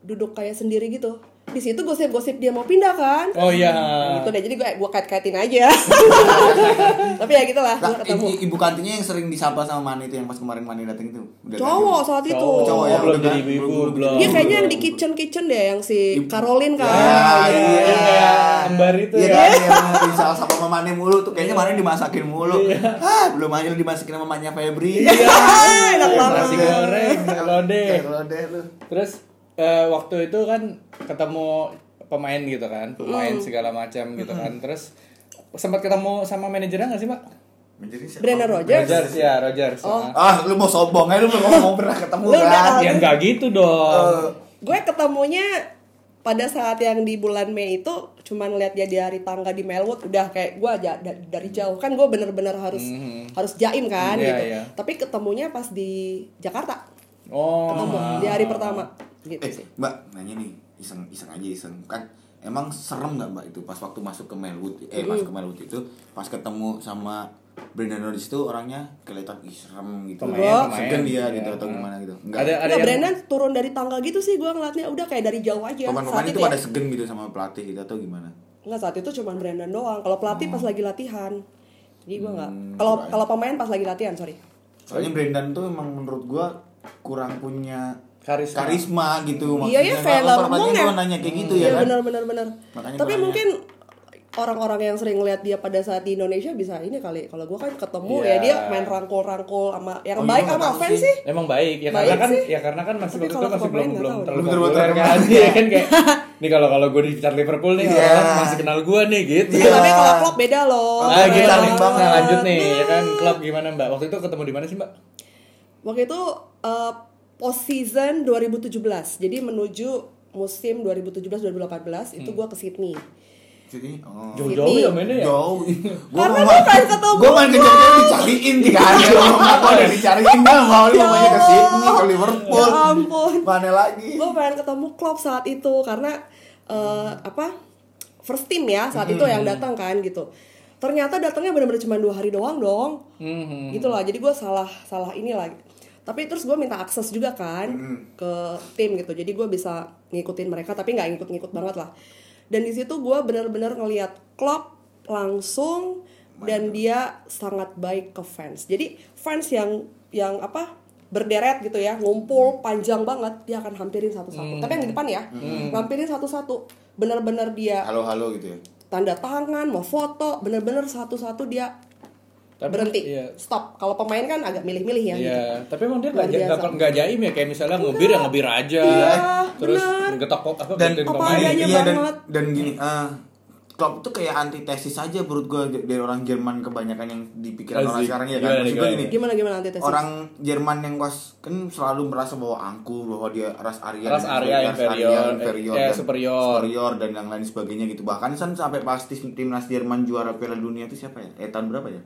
duduk kayak sendiri gitu di situ gosip-gosip dia mau pindah kan Oh iya. Nah, gitu deh jadi gue gue kait-kaitin aja tapi ya gitulah gue Lah, ketemu i- i- ibu kantinnya yang sering disapa sama Mani itu yang pas kemarin Mani dateng itu. Udah cowok ganti. saat itu Cowok, Cowok yang Oh, belum udah jadi kan? ibu-ibu, Belum, belum. dia Iya, kayaknya yang di kitchen kitchen deh yang si Caroline kan Ya, iya, iya. iya. Kembar itu Iya ya. kan yang misal sama mamane mulu tuh kayaknya Mani dimasakin mulu. Iya. Ah, belum aja lu dimasakin sama mamanya Febri. Ah, enak banget Nasi goreng, lode. Lode lu. Terus eh, waktu itu kan ketemu pemain gitu kan, pemain Hmm. segala macam gitu kan. Terus sempat ketemu sama manajernya nggak sih, Mbak? Menjadi siapa? Brenna Rogers Rogers ya, Rogers. Oh. Nah. Ah, lu mau sombong aja lu belum ngomong pernah ketemu Lu udah kan. tahu. Ya nggak gitu Eh, dong. gue ketemunya pada saat yang di bulan Mei itu cuman ngeliat dia dari tangga di Melwood udah kayak gue aja da- dari jauh kan gue bener-bener harus harus jaim kan Mm-hmm. Iya, gitu iya. tapi ketemunya pas di Jakarta Oh. Eh, ketemu di hari pertama gitu Eh, sih Mbak, nanya nih, iseng iseng aja iseng kan. Emang serem nggak Mbak itu pas waktu masuk ke Melwood, eh pas ke Melwood itu pas ketemu sama Brenda Norris itu orangnya kelihatan ih serem gitu. Pemain, Segan pemain. dia Iya, gitu atau hmm. gimana gitu. Enggak. Ada ada Nggak, yang- Brennan turun dari tangga gitu sih gue ngeliatnya udah kayak dari jauh aja Pemain-pemain saat itu ya. pada segan gitu sama pelatih gitu atau gimana? Nggak, saat itu cuman Brandon doang. Kalau pelatih pas Hmm. lagi latihan. Jadi gue nggak. Kalau right. kalau pemain pas lagi latihan, sorry. Soalnya Brendan tuh emang menurut gua kurang punya Karisma. karisma gitu Iya ya, kayak Kalau nggak ngomong pelatihnya ya. gua nanya kayak gitu ya Iya kan. benar benar benar. Makanya Tapi gua nanya. mungkin orang-orang yang sering ngeliat dia pada saat di Indonesia bisa ini kali. Kalau gue kan ketemu Iya. ya dia main rangkul-rangkul sama Oh, yang baik iya, sama nggak tahu fans sih. sih. Emang baik ya Baik karena kan sih. ya karena kan masih Tapi waktu kalau itu masih pemain belum nggak belum tahu. terlalu Belum terlalu populer kan. terkenal. Iya kan kayak nih kalau kalau gue digital Liverpool nih Iya. orang masih kenal gue nih gitu. Iya. Tapi kalau klub beda loh. Ah, Nah, Keren gitu. banget. Nah, lanjut nih ya kan klub gimana Mbak? Waktu itu ketemu di mana sih Mbak? Waktu itu eh, post season 2017. Jadi menuju musim 2017-2018 Hmm. itu gue ke Sydney. Jadi, oh. Jauh-jauh ya mainnya ya. Jauh. Gua mau- Karena kan gua pengen ketemu. Gua main kejadian dicariin tiga hari. Gua udah dicariin dah mau lu mau ke Sydney ke Liverpool. Ya ampun. Mana lagi? gue pengen ketemu Klopp saat itu karena eh, apa first team ya saat itu yang datang kan gitu ternyata datangnya benar-benar cuma dua hari doang dong gitu loh jadi gue salah salah ini lagi tapi terus gue minta akses juga kan ke tim gitu jadi gue bisa ngikutin mereka tapi nggak ngikut-ngikut banget lah dan di situ gue benar-benar ngelihat Klopp langsung dan dia sangat baik ke fans jadi fans yang yang apa berderet gitu ya ngumpul panjang banget dia akan hampirin satu-satu Hmm. tapi yang di depan ya hampirin satu-satu benar-benar dia Halo-halo gitu ya. tanda tangan mau foto benar-benar satu-satu dia Tapi- berhenti Iya. stop kalau pemain kan agak milih-milih ya gitu. Iya, tapi emang dia nggak Luar biasa. nggak- nggak jaim ya kayak misalnya ngebir ya ngebir aja, Iya, terus bener. getok apa Dan getok apa pemain. adanya Iya, dan, banget. dan gini, ah Klopp tuh kayak antitesis aja menurut gua dari orang Jerman kebanyakan yang dipikiran orang Asik. sekarang ya Gimana kan. Maksud gua nih, gini, gitu. gimana gimana nanti tesis orang Jerman yang was kan selalu merasa bahwa angku bahwa dia ras Arya Ras dan Arya ras Arya inferior, eh, inferior eh, dan superior. superior dan yang lain sebagainya gitu bahkan kan sampai pasti timnas Jerman juara Piala Dunia itu siapa ya eh tahun berapa ya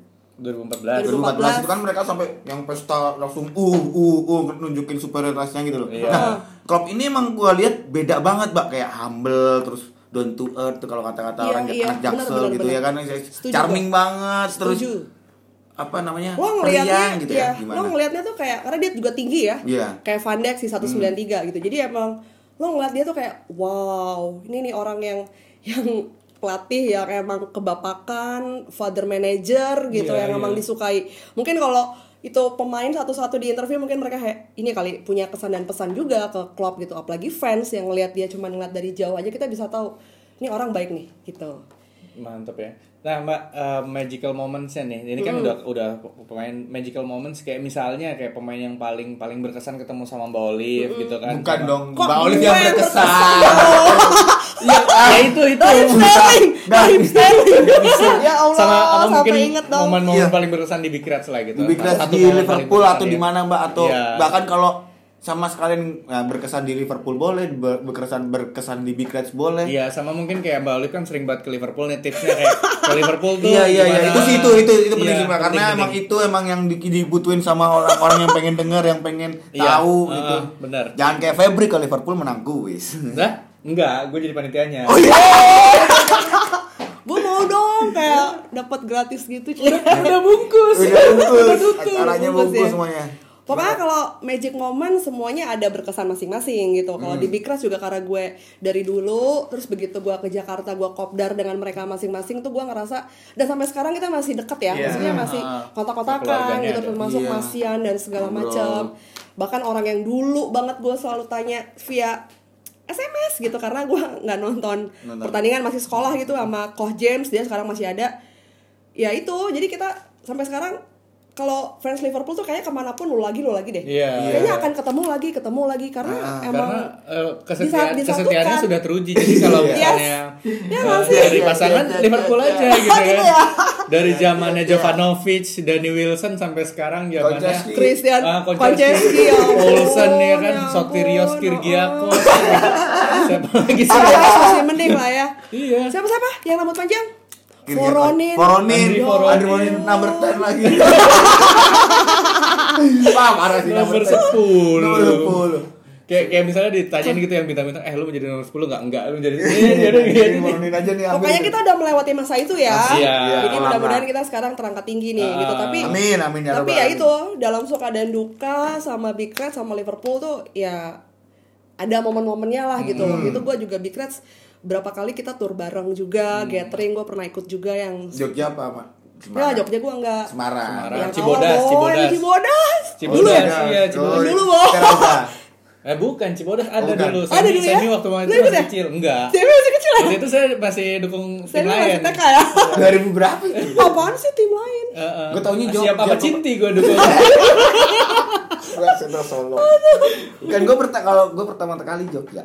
2014. 2014 itu kan mereka sampai yang pesta langsung uh uh uh nunjukin superioritasnya gitu loh Iya. nah Klopp ini emang gua lihat beda banget mbak kayak humble terus down to earth tuh kalau kata-kata Iya, orang iya. anak jaksel Benar, benar, gitu ya benar. kan Setuju, charming banget terus Setuju. apa namanya lo periang ngelihatnya gitu iya, ya lo gimana ngelihatnya tuh kayak karena dia juga tinggi ya Iya. kayak Van Dijk sih 193 gitu jadi emang lo ngeliat dia tuh kayak wow ini nih orang yang yang pelatih yang emang kebapakan father manager gitu Iya, yang emang iya. disukai mungkin kalau itu pemain satu-satu di interview mungkin mereka kayak, ini kali punya kesan dan pesan juga ke klub gitu apalagi fans yang ngelihat dia cuma ngeliat dari jauh aja kita bisa tahu ini orang baik nih gitu Mantap ya. Nah, Mbak, eh, magical moments-nya nih. Ini Hmm. kan udah udah pemain magical moments kayak misalnya kayak pemain yang paling paling berkesan ketemu sama Mbak Olive Hmm. gitu kan. Bukan Sama- dong, Kok Mbak Olive gue yang yang berkesan. Iya, ya itu itu. Time staring, Nah, time staring. Ya Allah, sama apa sampai mungkin inget dong. momen-momen Iya. paling berkesan di Big Reds lah gitu. Lebih keras Satu di momen paling Liverpool berkesan atau ya. di mana Mbak atau Iya. bahkan kalau sama sekalian nah, berkesan di Liverpool boleh, ber- berkesan berkesan di Big Reds boleh. Iya, sama mungkin kayak Mbak Olive kan sering banget ke Liverpool nih tipsnya kayak ke Liverpool tuh. Iya iya iya gimana. itu sih itu itu itu penting Iya, sih Mbak. karena penting, emang penting. itu emang yang di- dibutuhin sama orang-orang yang pengen denger yang pengen Iya, tahu heeh, gitu. benar. Jangan kayak Febri kalau Liverpool menang kuis. Nah, enggak, gue jadi panitianya. Oh iya. Gue mau dong kayak dapat gratis gitu. Cuma Udah bungkus. Udah bungkus. Bungkus, Acaranya bungkus bungkus ya. semuanya. Pokoknya kalau magic moment semuanya ada berkesan masing-masing gitu. Kalau di Big Rush juga karena gue dari dulu terus begitu gue ke Jakarta gue kopdar dengan mereka masing-masing tuh gue ngerasa dan sampai sekarang kita masih deket ya. Iya. Maksudnya masih kotak-kotakan Keluarganya gitu ada. termasuk Iya. Masian dan segala Ngobrol. macam. Bahkan orang yang dulu banget gue selalu tanya via SMS gitu karena gue nggak nonton, pertandingan masih sekolah gitu sama Koh James dia sekarang masih ada ya itu jadi kita sampai sekarang kalau fans Liverpool tuh kayaknya kemanapun lu lagi lu lagi deh Iya. kayaknya akan ketemu lagi ketemu lagi karena emang karena eh, bisa- kesetia- disatukan. kesetiaannya sudah teruji jadi kalau kan- Yes. misalnya Ya eh, nggak sih? dari pasangan Ya, ya, Liverpool ya, aja ya. gitu Gitu kan ya. dari zamannya Jovanovic, Dani Wilson sampai sekarang zamannya Konjaski. Christian Ah, Konchesky Konjaski, ya ampun, Olsen ya kan, ampun, Sotirios, ampun. oh, ya Kirgiakos, siapa lagi sih? Ah, ya, masih mending lah ya Iya. siapa siapa yang rambut panjang Kiri- Voronin Voronin. Andri Voronin. Andri Voronin number 10 lagi. Wah, parah sih Nomor 10. 10. Kayak kayak misalnya ditanyain gitu yang bintang-bintang, eh lu mau jadi nomor 10 enggak? Enggak, lu jadi Iya, jadi Ini gini. Voronin aja nih ambil. Pokoknya kita udah melewati masa itu ya. Iya. Jadi mudah-mudahan Lama. kita sekarang terangkat tinggi nih Ah. gitu. Tapi Amin, amin ya Tapi Rabbal ya Alamin. itu dalam suka dan duka sama Big Reds sama Liverpool tuh ya ada momen-momennya lah gitu. Hmm. Itu gue juga Big Reds berapa kali kita tur bareng Hmm. juga, gathering gue pernah ikut juga yang Jogja apa, Mak? Ya Jogja gue enggak. Semarang. Oh, Semarang. Yang Cibodas, awal, Cibodas. yang Cibodas. Cibodas, Dulu ya? iya, Cibodas. Dulu, Bo. Sekarang apa? Eh bukan, Cibodas ada Bukan. dulu. Ada dulu ya? Semi waktu Lu itu ikut masih ya? kecil, enggak. Saya masih kecil ya. Waktu itu saya masih dukung Saya tim masih lain. TK ya. 2000 berapa itu? Apaan sih tim lain? Gua taunya Iya, Jogja, Siapa apa Bapak. Cinti gue dukung. Seto Solo. Kan gue pertama kalau gue pertama kali Jogja.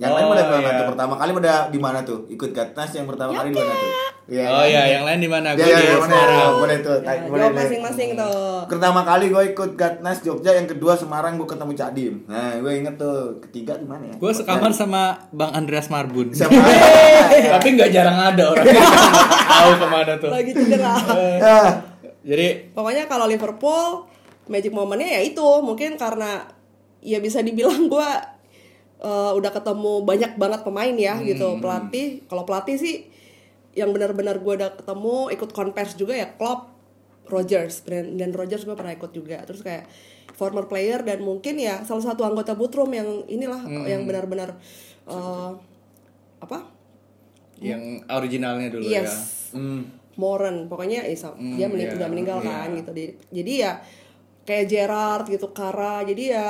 Yang lain Oh, pada mana iya. tuh? Pertama kali pada di mana tuh? Ikut Gatnas yang pertama kali di mana tuh? Iya. Oh iya, yang lain di mana? Gue Iya, di iya, mana Semarang. Boleh tuh. Ya, tanya- boleh, jawab boleh. masing-masing tuh. Pertama kali gue ikut Gatnas Jogja, yang kedua Semarang gue ketemu Cak Dim. Nah, gue inget tuh ketiga di mana ya? Gue sekamar sama Bang Andreas Marbun. Siapa? Tapi nggak jarang ada orang yang tahu kemana tuh. Lagi cedera. Ah, Jadi Pokoknya kalau Liverpool magic momennya ya itu mungkin karena ya bisa dibilang gua eh, udah ketemu banyak banget pemain ya gitu pelatih kalau pelatih sih yang benar-benar gua udah ketemu ikut konvers juga ya Klopp Rogers dan Rogers gue pernah ikut juga terus kayak former player dan mungkin ya salah satu anggota Butrum yang inilah yang benar-benar eh, apa yang originalnya dulu ya. yes. Moren pokoknya eh, so- dia mening- iya, udah meninggal iya. kan gitu Di- jadi ya kayak Gerard gitu Kara jadi ya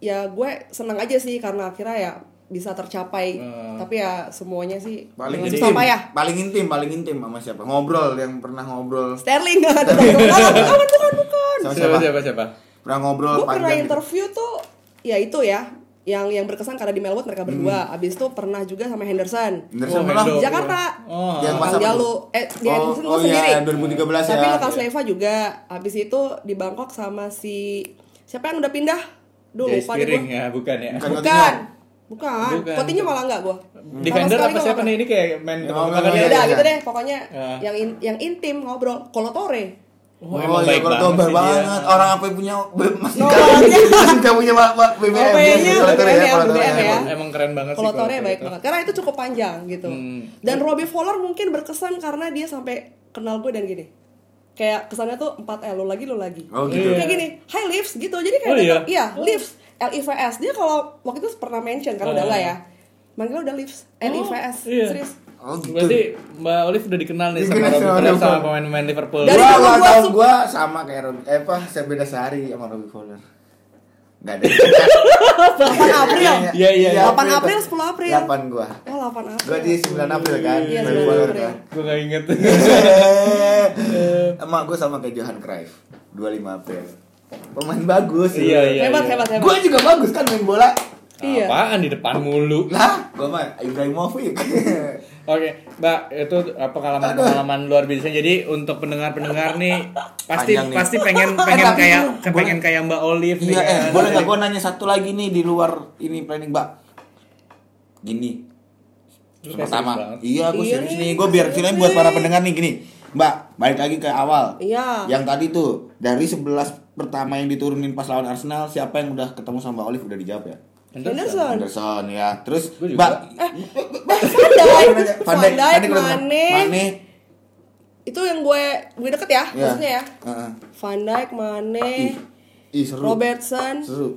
ya gue seneng aja sih karena akhirnya ya bisa tercapai Eh. tapi ya semuanya sih paling dengan intim, susah payah paling intim, paling intim sama siapa? Ngobrol yang pernah ngobrol Sterling nggak ada bukan bukan bukan sama Siapa siapa? siapa siapa? Pernah ngobrol gue pernah panjang. gitu. interview tuh ya itu ya yang yang berkesan karena di Melwood mereka berdua Hmm. abis itu pernah juga sama Henderson Henderson Oh, pernah? Hendo. Jakarta Oh. Yang masa apa Bang Jalu eh dia Oh, Henderson gue oh iya, sendiri 2013 tapi ya. Lukas Leva juga abis itu di Bangkok sama si siapa yang udah pindah Duh, Jay lupa deh Spiring gue. ya, bukan ya. Bukan. Bukan. Bukan. Bukan. Kotinya malah enggak gua. Defender apa Sama sekali nggak siapa pernah. nih ini kayak main Ya, tebak-tebakan iya, ya. Ya udah iya. gitu deh pokoknya Ah. yang in- yang intim ngobrol kolotore. Oh, emang iya, baik kalau banget tombak sih dia. banget. Orang apa yang punya B- masih No, gak- iya. masih gak punya Pak- Pak BBM. Oh, kayaknya gitu. Kalau Korea, BBM ya, kalau Korea BBM ya. emang. Emang, emang keren banget sih. Kolotore kalau gitu. baik itu. banget. Karena itu cukup panjang gitu. Hmm. Dan Robbie Fowler mungkin berkesan karena dia sampai kenal gue dan gini. Kayak kesannya tuh 4 L lu lagi lu lagi. Oh, gitu. Kayak gini, "Hi Leaves" gitu. Jadi kayak Oh, dia iya? tuh- iya, Leaves, L I V S. Dia kalau waktu itu pernah mention karena udah Ah. enggak ya. Manggil udah Leaves, L I V S. Oh, iya. Serius. Oh, gitu. Berarti Mbak Olive udah dikenal nih sama Dikenal Robin sama Van Persie, sama Robin. pemain-pemain Liverpool. Dari gua dulu ulang gua tahun suka- gua sama kayak Rob eh apa saya beda sehari sama Robbie Fowler nggak ada 8 April. Iya, iya, iya. 8 April, 10 April. 8 gua Oh, 8 April. gua di 9 April kan Iya, Robbie 9 Fowler April. kan Gue gak inget. Eh, emak gua sama kayak Johan Cruyff 25 April pemain bagus Iya, iya. hebat, hebat, hebat. gua juga bagus kan main bola Iya. Apaan di depan mulu. lah gua mah Ibrahimovic Oke, Mbak, itu eh, pengalaman-pengalaman luar biasa. Jadi untuk pendengar-pendengar nih pasti Panjang nih. pasti pengen Eh, pengen tapi kayak boleh- pengen kayak Mbak Olive nih. Iya, eh, kan. boleh nggak gue nanya satu lagi nih di luar ini planning, Mbak? Gini. Lu kayak serius Pertama, banget. iya gue Iya serius nih, nih, gue biar serius sini buat para nih. pendengar nih gini. Mbak, balik lagi ke awal. Iya. Yang tadi tuh dari 11 pertama yang diturunin pas lawan Arsenal, siapa yang udah ketemu sama Mbak Olive udah dijawab ya? Henderson. Anderson ya. Terus Gua juga. Mbak Eh, ya, Van Dijk, Van Van Dijk, Van Dijk, Dijk, Mane. Mane. Itu yang gue gue deket ya, Iya. maksudnya ya. Eh, Heeh. Van Dijk, Mane, Ih, Ih, seru. Robertson Seru.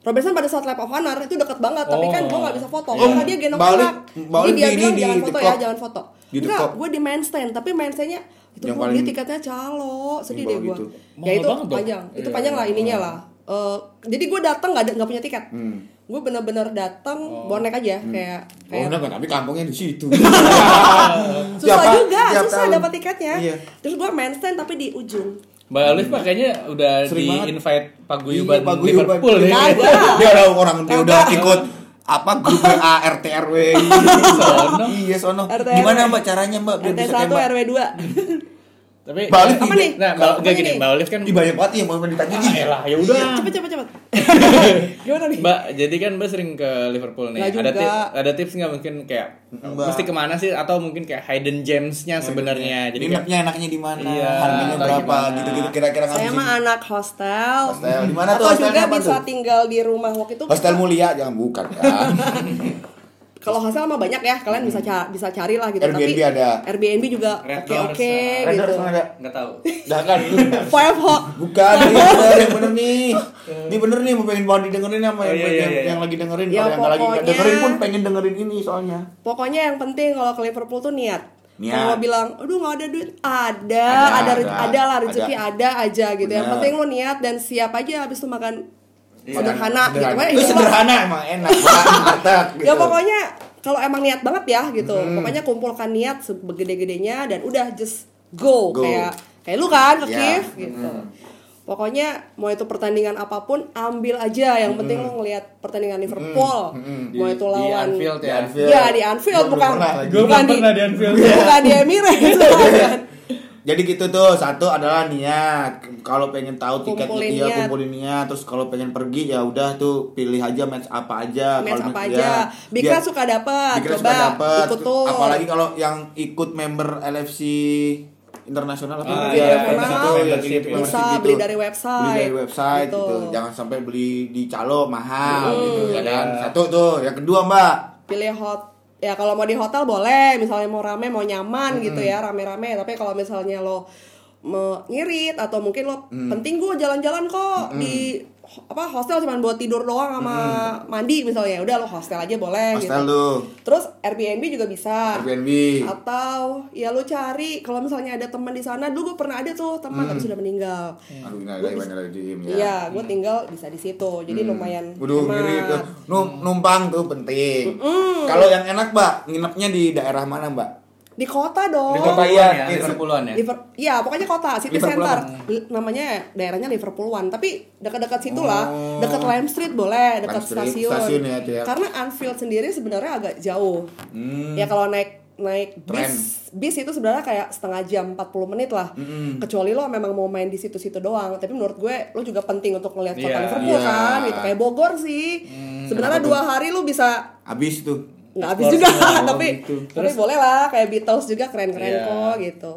Robertson pada saat lap of honor itu deket banget tapi kan Oh. gue nggak bisa foto Iya. karena dia gendong Mbak Olive- anak Mbak jadi Olive dia di- bilang di- jangan di foto ya TikTok. jangan foto Di enggak TikTok. gue di main stand tapi main standnya itu Yang gua- paling- dia tiketnya calo sedih bawah deh gue gitu. ya Mahal itu banget dong. panjang itu Iya. panjang lah ininya lah Eh, jadi gue datang nggak ada- nggak punya tiket Hmm. gue bener-bener datang bonek aja kayak Oh, kayak enggak, tapi kampungnya di situ. susah Tiap- juga tiap susah tahun. dapat tiketnya Iya. terus gue main stand tapi di ujung Mbak Olive mah kayaknya udah Sering di banget. invite paguyuban Iya, paguyuban. Nah, Liverpool ya. Kagak. dia udah orang dia udah ikut apa grup WA RT RW Sono. iya sono RT gimana mbak caranya mbak biar RT bisa 1 tembak RW 2 Tapi Mbak Olive Apa tidak- nih? Nah, Mbak, enggak Apa gini, nih? Mbak Olive kan Ih, banyak banget yang mau ditanya Ah, elah, ya udah. Iya. cepet cepet cepet gimana nih Mbak, jadi kan Mbak sering ke Liverpool nih. Nggak Ada juga. tips ada tips nggak mungkin kayak Mbak. mesti kemana sih atau mungkin kayak hidden gems-nya sebenarnya. Jadi kayak enaknya enaknya di mana Iya, harganya atau berapa gimana. gitu-gitu kira-kira saya ngabisin. mah anak hostel. Hostel. Di mana tuh Atau hostelnya juga apa bisa tuh? tinggal di rumah waktu itu. hostel mulia jangan bukan kan Kalau hostel mah banyak ya, kalian bisa ca- bisa carilah gitu. Airbnb Tapi ada. Airbnb juga Red oke Doors, oke uh, Red gitu. Doors mana ada nggak tahu. dah kan Five Hawk. bukan ini bener yang bener nih ini bener nih mau pengen banget didengerin sama yang, Oh, iya, iya, yang, iya. yang lagi dengerin Ya, kalau yang nggak lagi nggak pokoknya- dengerin pun pengen dengerin ini soalnya Pokoknya yang penting kalau ke Liverpool tuh niat. Niat. Kalau bilang, aduh nggak ada duit, ada, Ada, ada, re- ada. ada, lah rezeki Ada. ada. aja gitu. Yang Bener. penting lu niat dan siap aja habis itu makan Iya. Iya. sederhana, gitu. sederhana. Pokoknya Lu itu mah- sederhana emang enak mantap gitu. Hmm. Ya pokoknya kalau emang niat banget ya gitu. Pokoknya kumpulkan niat sebegede-gedenya dan udah just go, Go. kayak kayak lu kan ke Ya. Kiev gitu. Pokoknya mau itu pertandingan apapun ambil aja yang Hmm. penting lu ngelihat pertandingan Liverpool. Mau itu Di lawan Anfield ya. Anfield. Ya di Anfield Hmm. Gua belum bukan pernah lagi. Gua bukan belum pernah di Anfield. Bukan di Emirates. bukan. Jadi gitu tuh, satu adalah niat. Kalau pengen tahu tiketnya Kumpulin iya niat. kumpulin niat. Terus kalau pengen pergi ya udah tuh pilih aja match apa aja. Match Kalau apa match- aja. ya. Bikra Biar- suka dapat. Bikra Coba suka dapet. ikut tuh. Apalagi kalau yang ikut member LFC internasional apa Ah, gitu ya, iya, kayak gitu, membership, ya, membership, gitu, ya. membership Bisa gitu. beli dari website, Beli dari website gitu. gitu. Jangan sampai beli di calo mahal gitu ya Iya. kan. Satu tuh, yang kedua Mbak. pilih hot ya kalau mau di hotel boleh misalnya mau rame mau nyaman gitu ya rame-rame tapi kalau misalnya lo me- ngirit atau mungkin lo Mm. penting gue jalan-jalan kok di ho- apa hostel cuman buat tidur doang sama mandi misalnya Ya udah lo hostel aja boleh Hostel gitu tuh, terus Airbnb juga bisa Airbnb. atau ya lo cari kalau misalnya ada teman di sana dulu gue pernah ada tuh teman tapi sudah meninggal Aduh, ini ada yang ada di Mm. ya. Mm. iya gue tinggal bisa di situ jadi lumayan Waduh, hemat. ngiri tuh. Num- numpang tuh penting. Kalau yang enak, Mbak, nginepnya di daerah mana, Mbak? di kota dong Di kota iya, ya, di iya. sepuluhan ya. Liver- ya pokoknya kota city Liverpool center Li- namanya daerahnya Liverpool One tapi dekat-dekat situ lah dekat Lime Street boleh dekat Oh. Lime Street, stasiun, stasiun ya, itu ya. karena Anfield sendiri sebenarnya agak jauh Hmm. ya kalau naik naik bis bis itu sebenarnya kayak setengah jam 40 menit lah Hmm. kecuali lo memang mau main di situ-situ doang tapi menurut gue lo juga penting untuk ngeliat kota Iya. Liverpool Iya. Hmm, kan gitu kayak Bogor sih sebenarnya dua hari lo bisa Habis tuh. nggak habis Explore juga semua, tapi gitu. tapi boleh lah kayak Beatles juga keren-keren Iya. kok gitu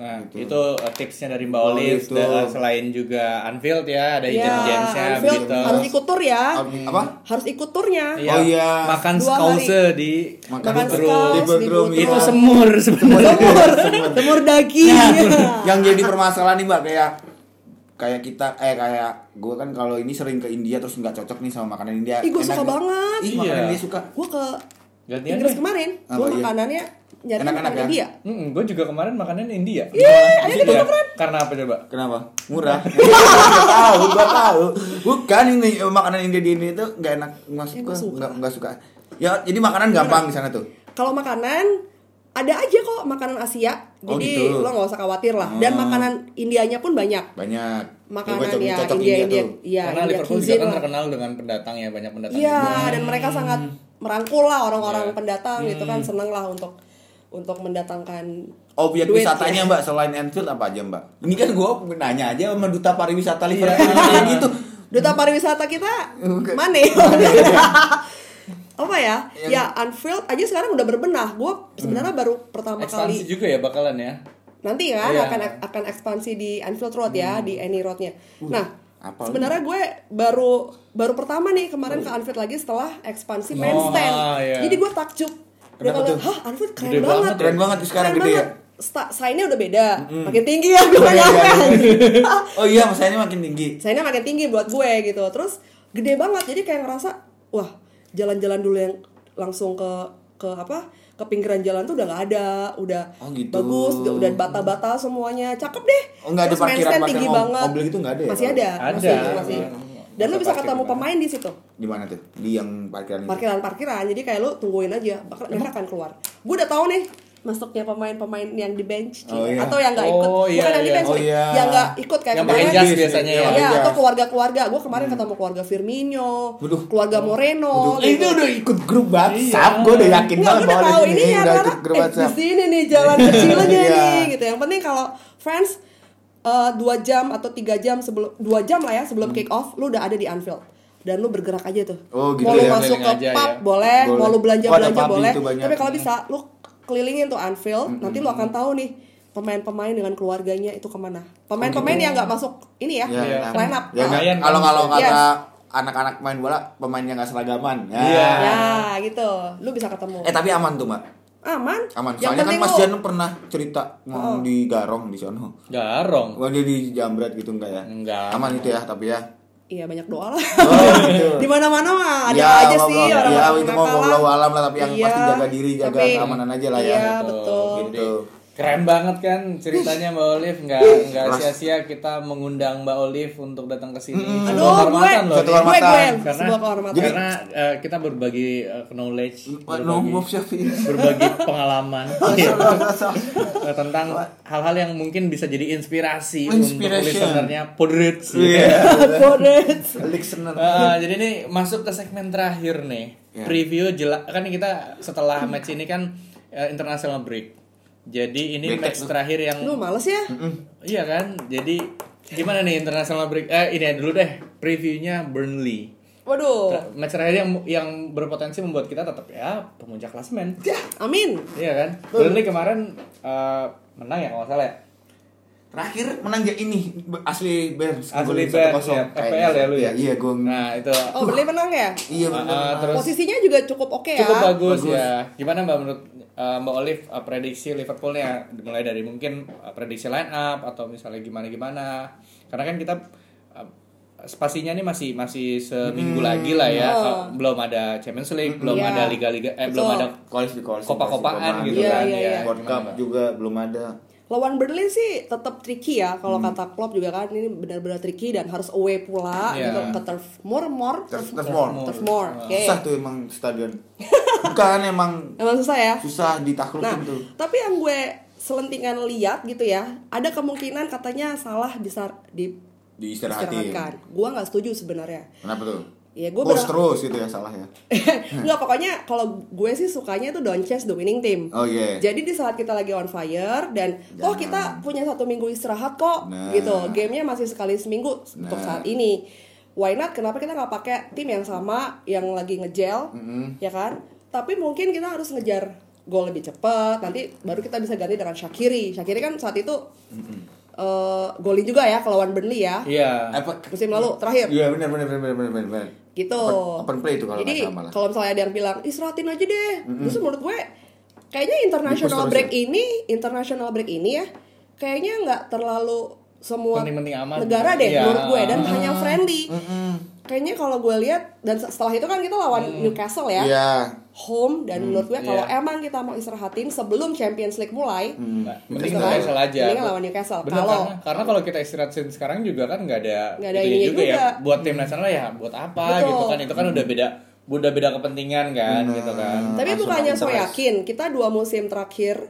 Nah, itu eh, tipsnya dari Mbak Olive Olive tuh. Dan, eh, selain juga Anfield ya, ada hidden gems-nya Iya, Anfield gitu. harus ikut tur ya. Apa? Harus ikut turnya. Iya, Oh, iya. makan Dua skause di Makan Makan Bro. skaus Di di Bodrum, Bodrum. iya. itu semur sebenarnya. Semur, semur daging. Nah, Iya. Iya. yang jadi permasalahan nih, Mbak, kayak kayak kita eh kayak gue kan kalau ini sering ke India terus nggak cocok nih sama makanan India. Ih, gua Enak suka nggak? banget. Ih, Iya. makanan India suka. Gue ke Gantian Inggris deh. kemarin, Ya. Apa, gue iya? makanannya nyari Enak-enak makanan ya? India. Hmm, gue juga kemarin makanan India. Iya. Iya, Karena apa coba? Kenapa? Murah. Iya. Gua tahu, gua tahu. Bukan ini eh, makanan India di India itu nggak enak masuk Ya, ke gua suka. nggak nggak suka. Ya, jadi makanan gampang di sana tuh. Kalau makanan ada aja kok makanan Asia, jadi Oh, gitu. lo nggak usah khawatir lah. Dan Hmm. makanan Indianya pun banyak. Banyak. Makanan Gua ya cocok India, India, tuh. iya Karena India Liverpool juga cuisine kan lah. terkenal dengan pendatang ya, banyak pendatang. Iya, juga. dan mereka sangat merangkul lah orang-orang Hmm. Iya. pendatang gitu kan seneng lah untuk untuk mendatangkan Objek Oh, duit, wisatanya ya. Mbak selain Anfield apa aja Mbak? Ini kan gua nanya aja sama duta pariwisata Liverpool Iya. kayak gitu. Duta pariwisata kita mana? Apa ya? Ya Anfield aja sekarang udah berbenah. Gue Hmm. sebenarnya baru pertama Ekspansi kali juga ya bakalan ya. nanti kan Iya. akan akan ekspansi di Anfield Road ya di Any Roadnya. Nah Hmm. Uh, apa lu? sebenarnya gue baru baru pertama nih kemarin ke Anfield lagi setelah ekspansi main stand. ah, iya. Jadi gue takjub. Kenapa Dengan tuh? hah Anfield keren Gede banget banget. Keren banget tuh sekarang Keren gede ya. banget. sta- sign-nya udah beda, makin tinggi ya gue nyampe. oh iya masanya makin tinggi Sayangnya makin tinggi buat gue gitu terus gede banget jadi kayak ngerasa wah jalan-jalan dulu yang langsung ke ke apa ke pinggiran jalan tuh udah nggak ada udah Oh, gitu. bagus udah, udah bata-bata semuanya cakep deh Oh, nggak ada Terus parkiran bandstand parkiran tinggi om- banget ombil gitu nggak ada ya? masih ada, Ada. masih masih Ada. dan lu Masa bisa parkir ketemu di mana? pemain di situ di mana tuh di yang parkiran itu parkiran-parkiran jadi kayak lu tungguin aja bakal mereka akan keluar gue udah tahu nih masuknya pemain-pemain yang di bench Oh, Cina. iya. atau yang nggak Oh, iya, ikut bukan yang di iya. bench Oh, sorry. iya. yang nggak ikut kayak Yang pakai kemarin. jas biasanya ya. Iya, Iya. atau keluarga-keluarga. Gue kemarin ketemu keluarga Firmino, Hmm. Waduh. keluarga Moreno. Eh, Eh, ini gitu. udah ikut grup WhatsApp Iya. gue udah yakin Nggak, banget gua udah bahwa tahu di ini sini ya udah karena ikut grup eh, di WhatsApp sini nih jalan kecil aja Iya. nih gitu. Yang penting kalau friends eh, dua jam atau tiga jam sebelum dua jam lah ya sebelum kick off, lu udah ada di Anfield dan lu bergerak aja tuh. Hmm. Oh, gitu mau lu ya. masuk ke Keliling aja pub ya. boleh, Boleh. mau lu belanja Oh, ada belanja pub boleh. itu banyak. Hmm, Tapi kalau bisa lu kelilingin tuh Anfield, nanti lu akan tahu nih pemain-pemain dengan keluarganya itu kemana. Pemain-pemain yang nggak masuk ini ya, Oh, gitu. Iya. line up. ya nggak? Lumayan, kalau kalau kan? kata anak-anak main bola pemainnya nggak seragaman ya Iya. Ya gitu, lu bisa ketemu. eh tapi aman tuh mbak Aman. aman Yang soalnya kan penting Mas lu- Oh. Jan pernah cerita mau di Garong di sono Garong. Wah dia di Jambret gitu enggak ya? Enggak. Aman itu ya tapi ya. Iya banyak doa lah. Oh gitu. Di mana-mana mah ada Ya, aja Allah, sih Allah. orang-orang Ya, itu nakal mau Allah lah. alam lah tapi yang Iya, pasti jaga diri, jaga tapi- keamanan aja lah ya. Iya, Gitu. betul. Gitu. Keren banget kan ceritanya Mbak Olive nggak nggak sia-sia kita mengundang Mbak Olive untuk datang ke sini. Hmm. Sebuah Aduh, gue, kehormatan loh. Satu ini. hormatan. gue, gue, Karena sebuah kehormatan. karena eh, kita berbagi eh, knowledge, No, berbagi, Bob Syafiq. berbagi pengalaman Iya. Eh, tentang hal-hal yang mungkin bisa jadi inspirasi untuk Inspiration. listenernya Podrits. Iya. Bodet. Listener. Eh, jadi ini masuk ke segmen terakhir nih. Ya. Preview jelas kan kita setelah match ini kan eh, international break. Jadi ini Bete tuh. match Hmm. terakhir yang Lu males ya? iya kan? Jadi gimana nih international break? Eh ini aja dulu deh previewnya Burnley. Waduh. Tra- Match terakhir yang yang berpotensi membuat kita tetap ya pemuncak klasemen. Ya. Amin. Iya kan? Burnley kemarin eh, menang ya kalau nggak salah ya. Terakhir menang ya ini asli Bears. Asli Golin 1-0. Bears, ya. Kayaknya. FPL ya lu ya? Iya, gue. Nah, itu Oh, Berlin menang ya? Iya Ah, benar. ah, terus Posisinya juga cukup oke ya. cukup bagus, ya. Gimana mbak menurut eh, mbak Olive eh, prediksi Liverpoolnya mulai dari mungkin eh, prediksi line up atau misalnya gimana gimana? Karena kan kita eh, spasinya nih masih masih seminggu lagi lah ya, Eh, belum ada Champions League, belum Oh. Iya. ada liga-liga, eh Betul. belum ada Koalisi di koalisi. kopa-kopaan gitu Iya, kan ya. iya, iya. World Gimana, Cup Mbak? juga belum ada. Lawan Berlin sih tetap tricky ya kalau Hmm. kata Klopp juga kan ini benar-benar tricky dan harus away pula Iya. gitu ke turf more more Terus terus more. turf more. Oke. Susah tuh emang stadion. Bukan emang Emang susah ya? susah ditaklukin Nah, tuh. tapi yang gue selentingan lihat gitu ya, ada kemungkinan katanya salah bisa di Diistirahatin. istirahatkan. Gue nggak setuju sebenarnya. Kenapa tuh? Ya gue Gue berharap terus gitu ya salah ya. nggak pokoknya kalau gue sih sukanya itu don't chase the winning team. Oh iya. Jadi di saat kita lagi on fire dan toh kita punya satu minggu istirahat kok Nah. gitu. Gamenya masih sekali seminggu untuk Nah. saat ini. Why not? Kenapa kita nggak pakai tim yang sama yang lagi ngejel, ya kan? Tapi mungkin kita harus ngejar gol lebih cepat. Nanti baru kita bisa ganti dengan Shakiri. Shakiri kan saat itu eh, golin juga ya ke lawan Burnley ya Iya. Apa musim lalu terakhir. Iya benar benar benar benar benar benar. gitu. Open, open play itu kalau Jadi nggak salah lah. kalau misalnya ada yang bilang istirahatin aja deh, justru menurut gue kayaknya international terus ya? break ini, international break ini ya, kayaknya nggak terlalu semua Penting-penting amat. negara deh Iya. menurut gue dan hanya friendly. Kayaknya kalau gue lihat dan setelah itu kan kita lawan Newcastle ya. Iya. Home dan menurut gue kalau iya. emang kita mau istirahatin sebelum Champions League mulai, Nah, Mending Terserah. nggak salah aja. Mendingan lawan Newcastle. Bener, Kalau- karena, karena kalau kita istirahatin sekarang juga kan nggak ada, Nggak ada itunya ininya ya. juga. Buat tim nasional ya buat apa Betul. gitu kan? Itu kan udah beda, udah beda kepentingan kan gitu kan. Tapi bukannya so yakin, kita dua musim terakhir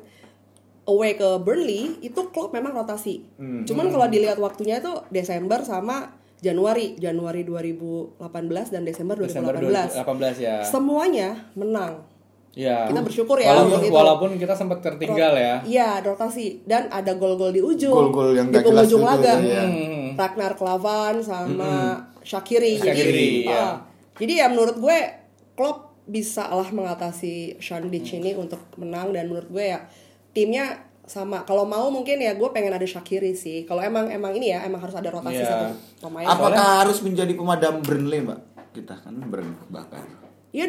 away ke Burnley itu klub memang rotasi. Cuman kalau dilihat waktunya itu Desember sama Januari, Januari 2018 dan Desember 2018. Desember 2018 ya. Semuanya menang. Ya. Kita bersyukur ya Walaupun, untuk itu. walaupun kita sempat tertinggal ya. Iya, rotasi dan ada gol-gol di ujung. Gol-gol yang di nggak jelas penghujung itu, laga. iya. Hmm. Ragnar Klavan sama Shakiri. Shaqiri, jadi, iya. ah, jadi ya menurut gue Klopp bisa lah mengatasi Shandich Hmm. ini untuk menang dan menurut gue ya timnya sama. Kalau mau mungkin ya gue pengen ada Shakiri sih. Kalau emang emang ini ya emang harus ada rotasi Iya. satu pemain. Apakah harus menjadi pemadam Burnley, Mbak? Kita kan Burnley bakar. Iya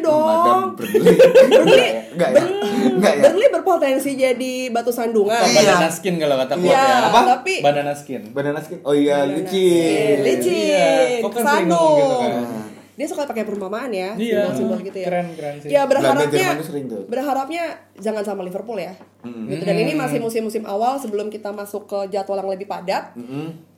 Pemadam dong. Burnley. Burnley, Enggak ya? Enggak ya? Burnley berpotensi jadi batu sandungan. Iya. Kan Banana skin kalau kata klub Iya, ya. Apa? tapi- Banana skin. Banana skin. Oh iya, licin. licin, Iya, kok kan sering Sano. ngomong gitu kan. Dia suka pakai perumpamaan Iya, ya, simbol-simbol gitu ya. keren, keren sih. Ya Belanda, berharapnya, Jerman tuh sering tuh. berharapnya jangan sama Liverpool ya. Gitu. Dan ini masih musim-musim awal sebelum kita masuk ke jadwal yang lebih padat,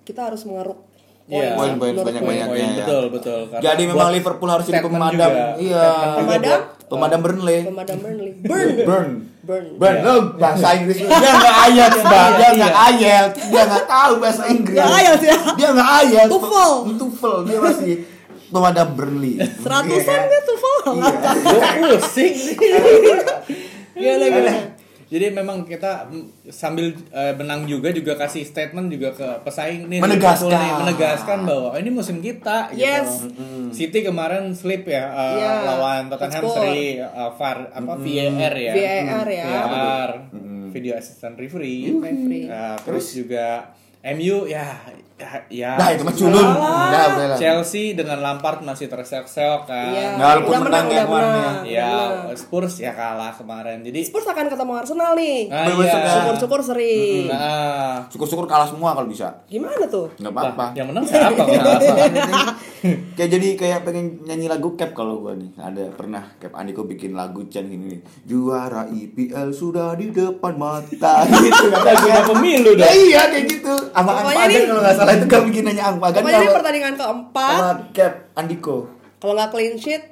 kita harus mengeruk poin Iya. Poin-poin menurut sebanyak- gue. Banyaknya Poin, ya. betul, betul. Karena Jadi memang buat Liverpool harus jadi statement pemadam. juga. Iya. Pemadam? Pemadam Burnley. Pemadam Burnley. Burn, Burn. burn. Burn. Lo bahasa Inggris dia enggak IELTS, Bang. Dia enggak IELTS. Dia enggak tahu bahasa Inggris. Iya, Nggak IELTS ya? Dia enggak IELTS. TOEFL. Tufel. Dia masih pemadam Burnley. Seratusan Iya. gitu, Vol. Gua pusing Gila, gila. Jadi memang kita mm, sambil eh, menang juga juga kasih statement juga ke pesaing nih Menegaskan. Liverpool nih, menegaskan bahwa oh, ini musim kita gitu. Yes. City kemarin slip ya eh, Iya. lawan Tottenham Score. seri eh, VAR apa VAR ya. VAR ya. VAR. Video assistant referee. Referee. Eh, terus juga MU ya ya, ya. Dah Nah, itu mah culun. Dah udah lah. Chelsea dengan Lampard masih terseok-seok kan. Iya. Nah, walaupun udah menang, menang udah yang warna. menang. Ya, Menang. Spurs ya kalah kemarin. Jadi Spurs akan ketemu Arsenal nih. Nah, Bener-bener iya. sudah. Syukur-syukur seri. Nah, Syukur-syukur kalah semua kalau bisa. Gimana tuh? Enggak apa-apa. yang menang siapa kalau nggak salah? kayak jadi kayak pengen nyanyi lagu cap kalau gua nih ada pernah cap Andiko bikin lagu Chan gini nih juara IPL sudah di depan mata gitu kata gua. Juara pemilu dong. Ya iya kayak gitu sama Pokoknya Angpagan nih- kalau nggak salah itu gak bikin nanya Angpagan Pokoknya ini sama- pertandingan keempat. sama cap Andiko Kalau nggak clean sheet,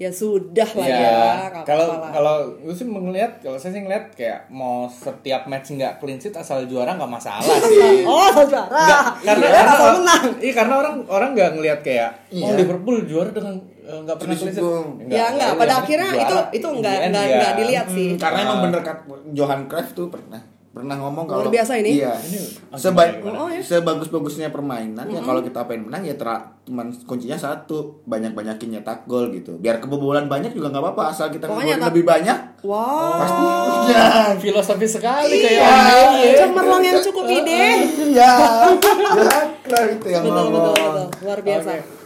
ya sudah lah ya. Ya, nggak kalau apa-apa lah. kalau gue sih melihat kalau saya sih ngeliat kayak mau setiap match nggak clean sheet asal juara nggak masalah sih. oh saudara, Nggak, karena Iya, orang, asal menang. Iya, karena orang orang nggak ngelihat kayak oh Iya. Liverpool juara dengan eh, nggak pernah Terus clean itu- sheet. Ya enggak, pada akhirnya itu itu enggak enggak enggak dilihat sih. karena emang bener kan Johan Cruyff tuh pernah pernah ngomong kalau Luar biasa ini. iya. iya oh, Seba- gimana, gimana? sebagus bagusnya permainan ya kalau kita pengen menang ya tera- cuman kuncinya satu banyak banyakin nyetak gol gitu biar kebobolan banyak juga nggak apa-apa asal kita ngegolin Pokoknya tak- Oh. lebih banyak Wow, pasti ya. udah Filosofi sekali kayak Iya. cemerlang yang cukup ide. iya Johan Cruyff itu yang Betul betul ngomong betul, luar biasa. Oke.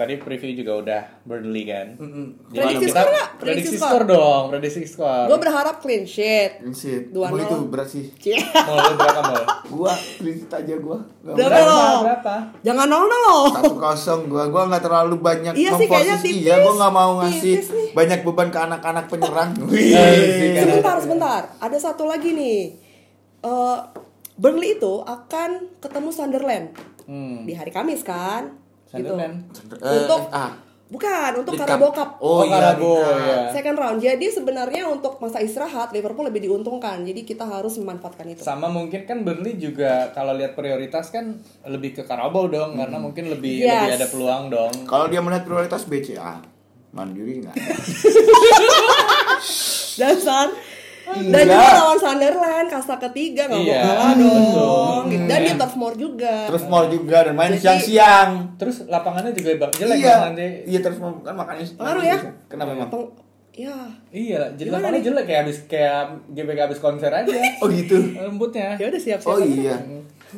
Tadi preview juga udah Burnley kan. Jadi Prediksi kita- skor nggak? prediksi, skor dong, prediksi skor. Gue berharap clean sheet. Shit, Dua emang nol. itu berat sih Cie. Mau lu berapa mau? gua kritik aja gua Nggak Berapa Gitu. berat. lo? berapa? Jangan nol nol lo. satu kosong gua gua nggak terlalu banyak Iya sih, kayaknya memposisi tipis. ya gua nggak mau ngasih Tipis nih. banyak beban ke anak-anak penyerang Wih. Sebentar sebentar, ada satu lagi nih. Eh, Burnley itu akan ketemu Sunderland Hmm. di hari Kamis kan? Gitu. Sunderland. ah. Eh, Untuk FA. bukan untuk League Carabao Cup. oh, Oh, iya Carabao, League Cup. iya. Second round. Jadi sebenarnya untuk masa istirahat Liverpool lebih diuntungkan. Jadi kita harus memanfaatkan itu. Sama mungkin kan Burnley juga kalau lihat prioritas kan lebih ke Karabau dong karena mungkin lebih Yes. lebih ada peluang dong. kalau dia melihat prioritas BCA mandiri nggak Dasar. Dan Iya. juga lawan Sunderland kasta ketiga nggak Iya, mau kalah dong. Gitu. Dan dia top more juga. Iya. terus mau juga dan main Jadi- siang-siang Terus lapangannya juga bak- jelek iya kan nanti. iya terus mau kan makannya Pengaruh ya? kenapa emang Peng- ya. Iya, jadi Gimana lapangannya jelek kayak habis kayak GBK habis konser aja. oh gitu Lembutnya. Ya udah siap-siap. oh aja. iya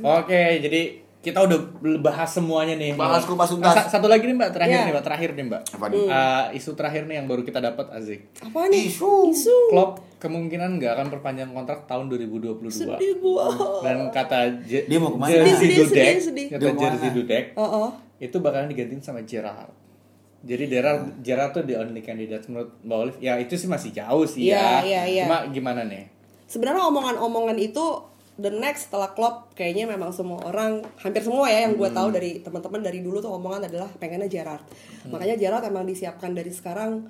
Oke, jadi kita udah bahas semuanya nih. Bahas Mbak. kupas tuntas. Sa- Satu lagi nih Mbak, terakhir Iya. nih Mbak, terakhir nih Mbak. Apa nih? Eh, isu terakhir nih yang baru kita dapat Azik. Apa nih? Isu. Isu. Klopp kemungkinan nggak akan perpanjang kontrak tahun 2022. Sedih gua. Dan kata Je- Dia mau kemana? Jerzy Sedih, sedih, Dudek, sedih, sedih. kata Dia mau kemana? Jerzy Dudek, Oh, oh. itu bakalan digantiin sama Gerrard. Jadi Gerrard, Gerrard tuh the only candidate menurut Mbak Olive. Ya itu sih masih jauh sih ya. Iya, iya, iya. Cuma gimana nih? Sebenarnya omongan-omongan itu the next setelah Klopp kayaknya memang semua orang hampir semua ya yang gue Hmm. tahu dari teman-teman dari dulu tuh omongan adalah pengennya Gerrard. Hmm. Makanya Gerrard emang disiapkan dari sekarang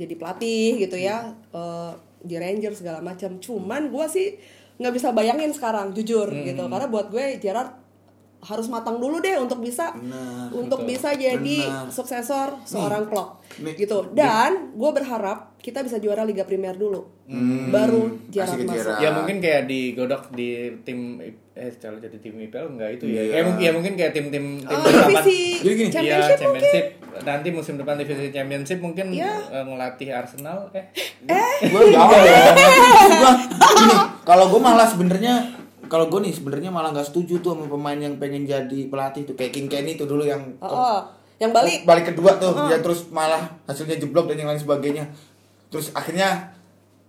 jadi pelatih gitu ya eh, di Rangers segala macam. Cuman gue sih nggak bisa bayangin sekarang jujur Hmm. gitu karena buat gue Gerrard harus matang dulu deh untuk bisa Benar, untuk bisa jadi Benar. suksesor seorang Klopp Nih. gitu. Dan gue berharap kita bisa juara Liga Primer dulu. Hmm. Baru Gerrard kasih ke masuk. Gerrard. Ya mungkin kayak digodok di tim eh kalau jadi tim IPL enggak itu ya. Iya. Ya, mungkin, ya mungkin kayak tim-tim tim Oh, delapan- divisi Jadi gini, Iya, championship mungkin. championship. Nanti musim depan divisi championship mungkin Iya. eh, ngelatih Arsenal eh gue jawab ya Gua- gini, kalau gue malah sebenarnya kalau gue nih sebenarnya malah nggak setuju tuh sama pemain yang pengen jadi pelatih tuh kayak King Kenny tuh dulu yang Oh, oh. yang balik. balik kedua tuh dia terus malah hasilnya jeblok dan yang lain sebagainya terus akhirnya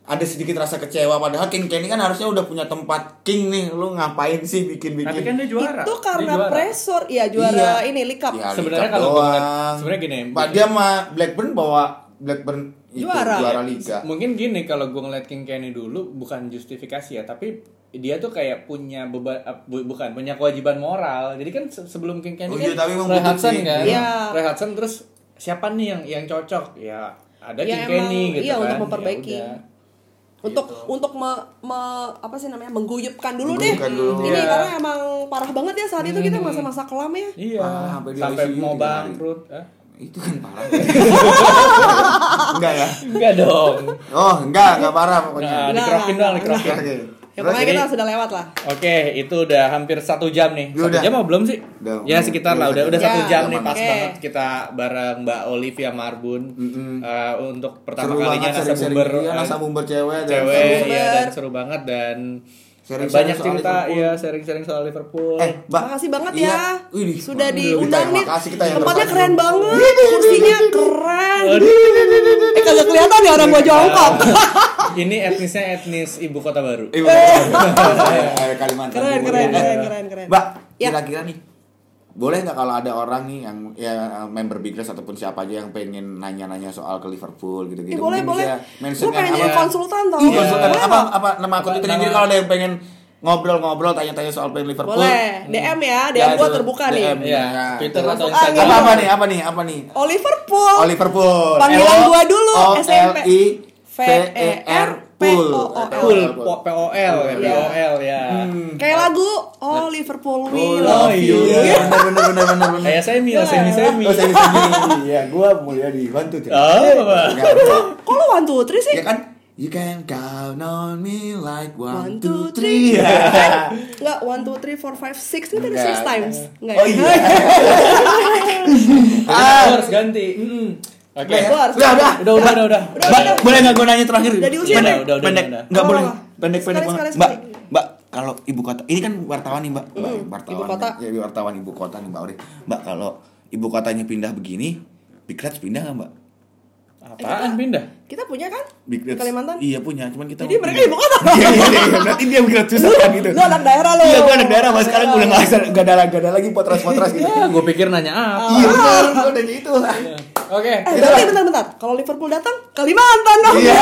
ada sedikit rasa kecewa padahal King Kenny kan harusnya udah punya tempat King nih lu ngapain sih bikin-bikin Tapi kan dia juara. itu karena Dia juara. pressure ya Iya. juara Iya. ini likap Ya, Sebenarnya Liga kalau gua ngeliat- doang. sebenarnya gini, Pak, dia sama Blackburn bawa Blackburn itu Juara. juara, liga. Mungkin gini kalau gue ngeliat King Kenny dulu bukan justifikasi ya, tapi dia tuh kayak punya beban eh, bu- bukan punya kewajiban moral. Jadi kan se- sebelum King Kenny Oh kan iya, tapi emang Roy butuh Hudson sih. kan. Iya. Roy Hudson terus siapa nih yang yang cocok? Ya ada Ya, King Kenny emang, gitu iya, kan. untuk memperbaiki. Ya udah. untuk untuk me- me- apa sih namanya mengguyupkan dulu Mengguyupkan deh dulu. Hmm. ini Iya. karena emang parah banget ya saat itu kita masa-masa kelam ya Iya. Ah, sampai di sampai ICU mau tiga hari. bangkrut. Eh? Itu kan parah. enggak ya? Enggak dong. Oh, enggak, enggak parah pokoknya. Nah, Enggak, dikerokin doang, dikerokin. Oke. ya Terus pokoknya jadi- kita sudah lewat lah Oke, itu udah hampir satu jam nih. Satu Ya Udah. jam apa belum sih? Udah. Ya sekitar lah, udah udah Ya. satu jam nih, pas Oke. banget kita bareng Mbak Olivia Marbun Eh, untuk pertama seru kalinya banget nasa sering-sering bumber iya, eh, nasa bumber cewek dan cewek, Sumber. ya dan seru banget dan Sharing-sharing banyak soal cerita, Liverpool. ya sharing-sharing soal Liverpool. Eh, Mbak. Makasih banget Iya. ya. Widih, Sudah Mbak. diundang Kita- nih. Makasih kita yang Tempatnya terbantu. keren banget. Kursinya keren. Eh kagak kelihatan ya orang gua jongkok. Iya. Ini etnisnya etnis ibu kota baru. Ibu. Eh, Kalimantan Keren Timur keren ya. keren keren keren. Mbak, Ya. kira-kira nih boleh nggak kalau ada orang nih yang ya member Big Reds ataupun siapa aja yang pengen nanya-nanya soal ke Liverpool Eh, gitu-gitu. boleh Mungkin boleh. bisa Gua mention pengen apa- jadi konsultan tau. Ih, konsultan. Boleh apa nggak? apa nama aku Twitter jadi kalau ada yang pengen ngobrol-ngobrol tanya-tanya soal pemain Liverpool. Boleh. DM ya. DM Ya, gua itu, terbuka DM. nih. Ya, Ya, Twitter terus. atau Ah, Instagram. Apa apa nih? Apa nih? Apa nih? Oh Liverpool. Oh Liverpool. Panggilan L- gua dulu, O SMP. L I V E R Pool. P-O-O-L. Pool, POL, ya, Iya. Hmm. POL ya. Kayak lagu Oh Oh, Liverpool we love you. Iya, benar benar benar benar benar. Kayak semi lah, semi-semi. Oh, saya bisa gini. Iya, gua mulia di One Two Three. Oh, apa? Kok lu one two three sih? Ya kan? You can count on me like one, One, two, two, three. Ya. Enggak, 1, 2, 3, 4, 5, 6 Ini tadi Enggak. 6 times Enggak Oh ya? iya. Ah. Aku harus ganti. Mm. Oke. Udah, ya? Gua harus- Udah, udah. Udah, udah, udah, udah. Mbak, boleh nggak gue nanya terakhir? Udah diusir. pendek, Udah, udah, udah, pendek. udah. Nggak Apa, boleh. apa? Pendek, pendek Sekali, banget. sekali, Mbak, sekali. Mbak, kalau ibu kota, ini kan wartawan nih Mbak, Mbak, wartawan, ibu kota. ya, wartawan ibu kota nih Mbak Ori. Mbak, kalau ibu kotanya pindah begini, Big Reds pindah nggak Mbak? Apaan pindah? Kita punya kan? Big Reds. Kalimantan? Iya punya, cuman kita. Jadi mau mereka pindah. ibu kota. Iya, iya, iya. Berarti dia Big Reds susah kan gitu. Lu anak daerah lu. Iya, gue anak daerah, mas sekarang udah nggak ada, nggak ada, nggak ada lagi potras-potras gitu. Iya. Ya, gue pikir nanya apa. Iya benar, gue nanya itu. iya. Oke. Eh, bentar, bentar, bentar. Kalau Liverpool datang, Kalimantan dong. Iya.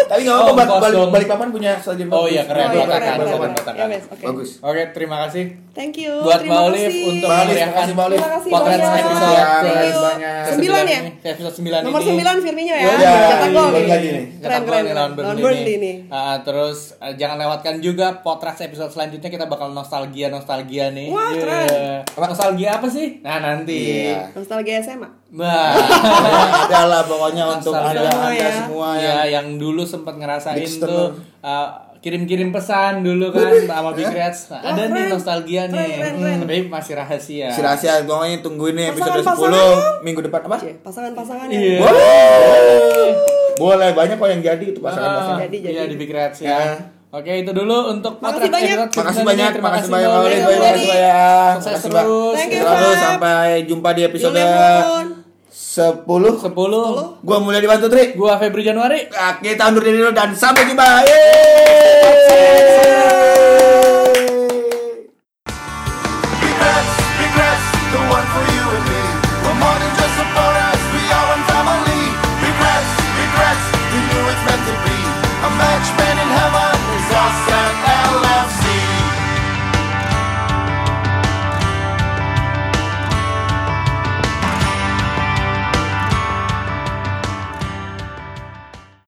Tapi nggak apa-apa, Oh, kos balik, dong. balik papan punya stadion Oh, iya, Oh, keren. iya, Berantakan, keren, keren. berantakan. Ya, wes, oke. Bagus. Oke, terima kasih Thank you. buat Terima Mbak Olive kasih. untuk Mbak Olive, meriahkan makasih, Mbak Olive. Terima kasih potret banyak. episode Iya, ke- makasih banyak. ke- Sembilan ya? ini. Ke Episode 9 Nomor ini. 9 Firmino ya. Iya, Cetak gol balik nih. lagi nih. Keren, Keren, keren. Lawan Lawan Burnley Burnley nih. nih. Ah, terus eh, jangan lewatkan juga potras episode selanjutnya kita bakal nostalgia nostalgia nih. Wah, Iya. keren. Nostalgia apa sih? Nah, nanti. Iya. Nostalgia SMA. Nah. ada lah pokoknya untuk Asal ada semua anda ya. semua ya. ya yang dulu sempat ngerasain Big tuh uh, kirim-kirim pesan dulu kan sama eh. Big Reds. Nah, Wah, ada nih keren. nostalgia Keren, nih. Hmm, keren, keren. Tapi masih rahasia. Si rahasia pokoknya tungguin nih episode Pasangan-pasangan 10 iya. minggu depan apa? Cie, Pasangan-pasangan Iya. ya. Boleh. Boleh banyak kok yang jadi itu Ah, pasangan-pasangan. Jadi, jadi. Iya di Big Reds ya. Ya. Oke, itu dulu untuk Makasih podcast banyak. episode Makasih 9 banyak, ini. Terima makasih kasih banyak Mbak Oli, Oli. Oli. makasih banyak. Sukses Makasih terus. Thank you, Terus Fab. sampai jumpa di episode Julian Mulpon. 10. 10. Gua mulai dibantu Tri. Gua Febri Januari. Oke, tahun dulu dan sampai jumpa. Yeay.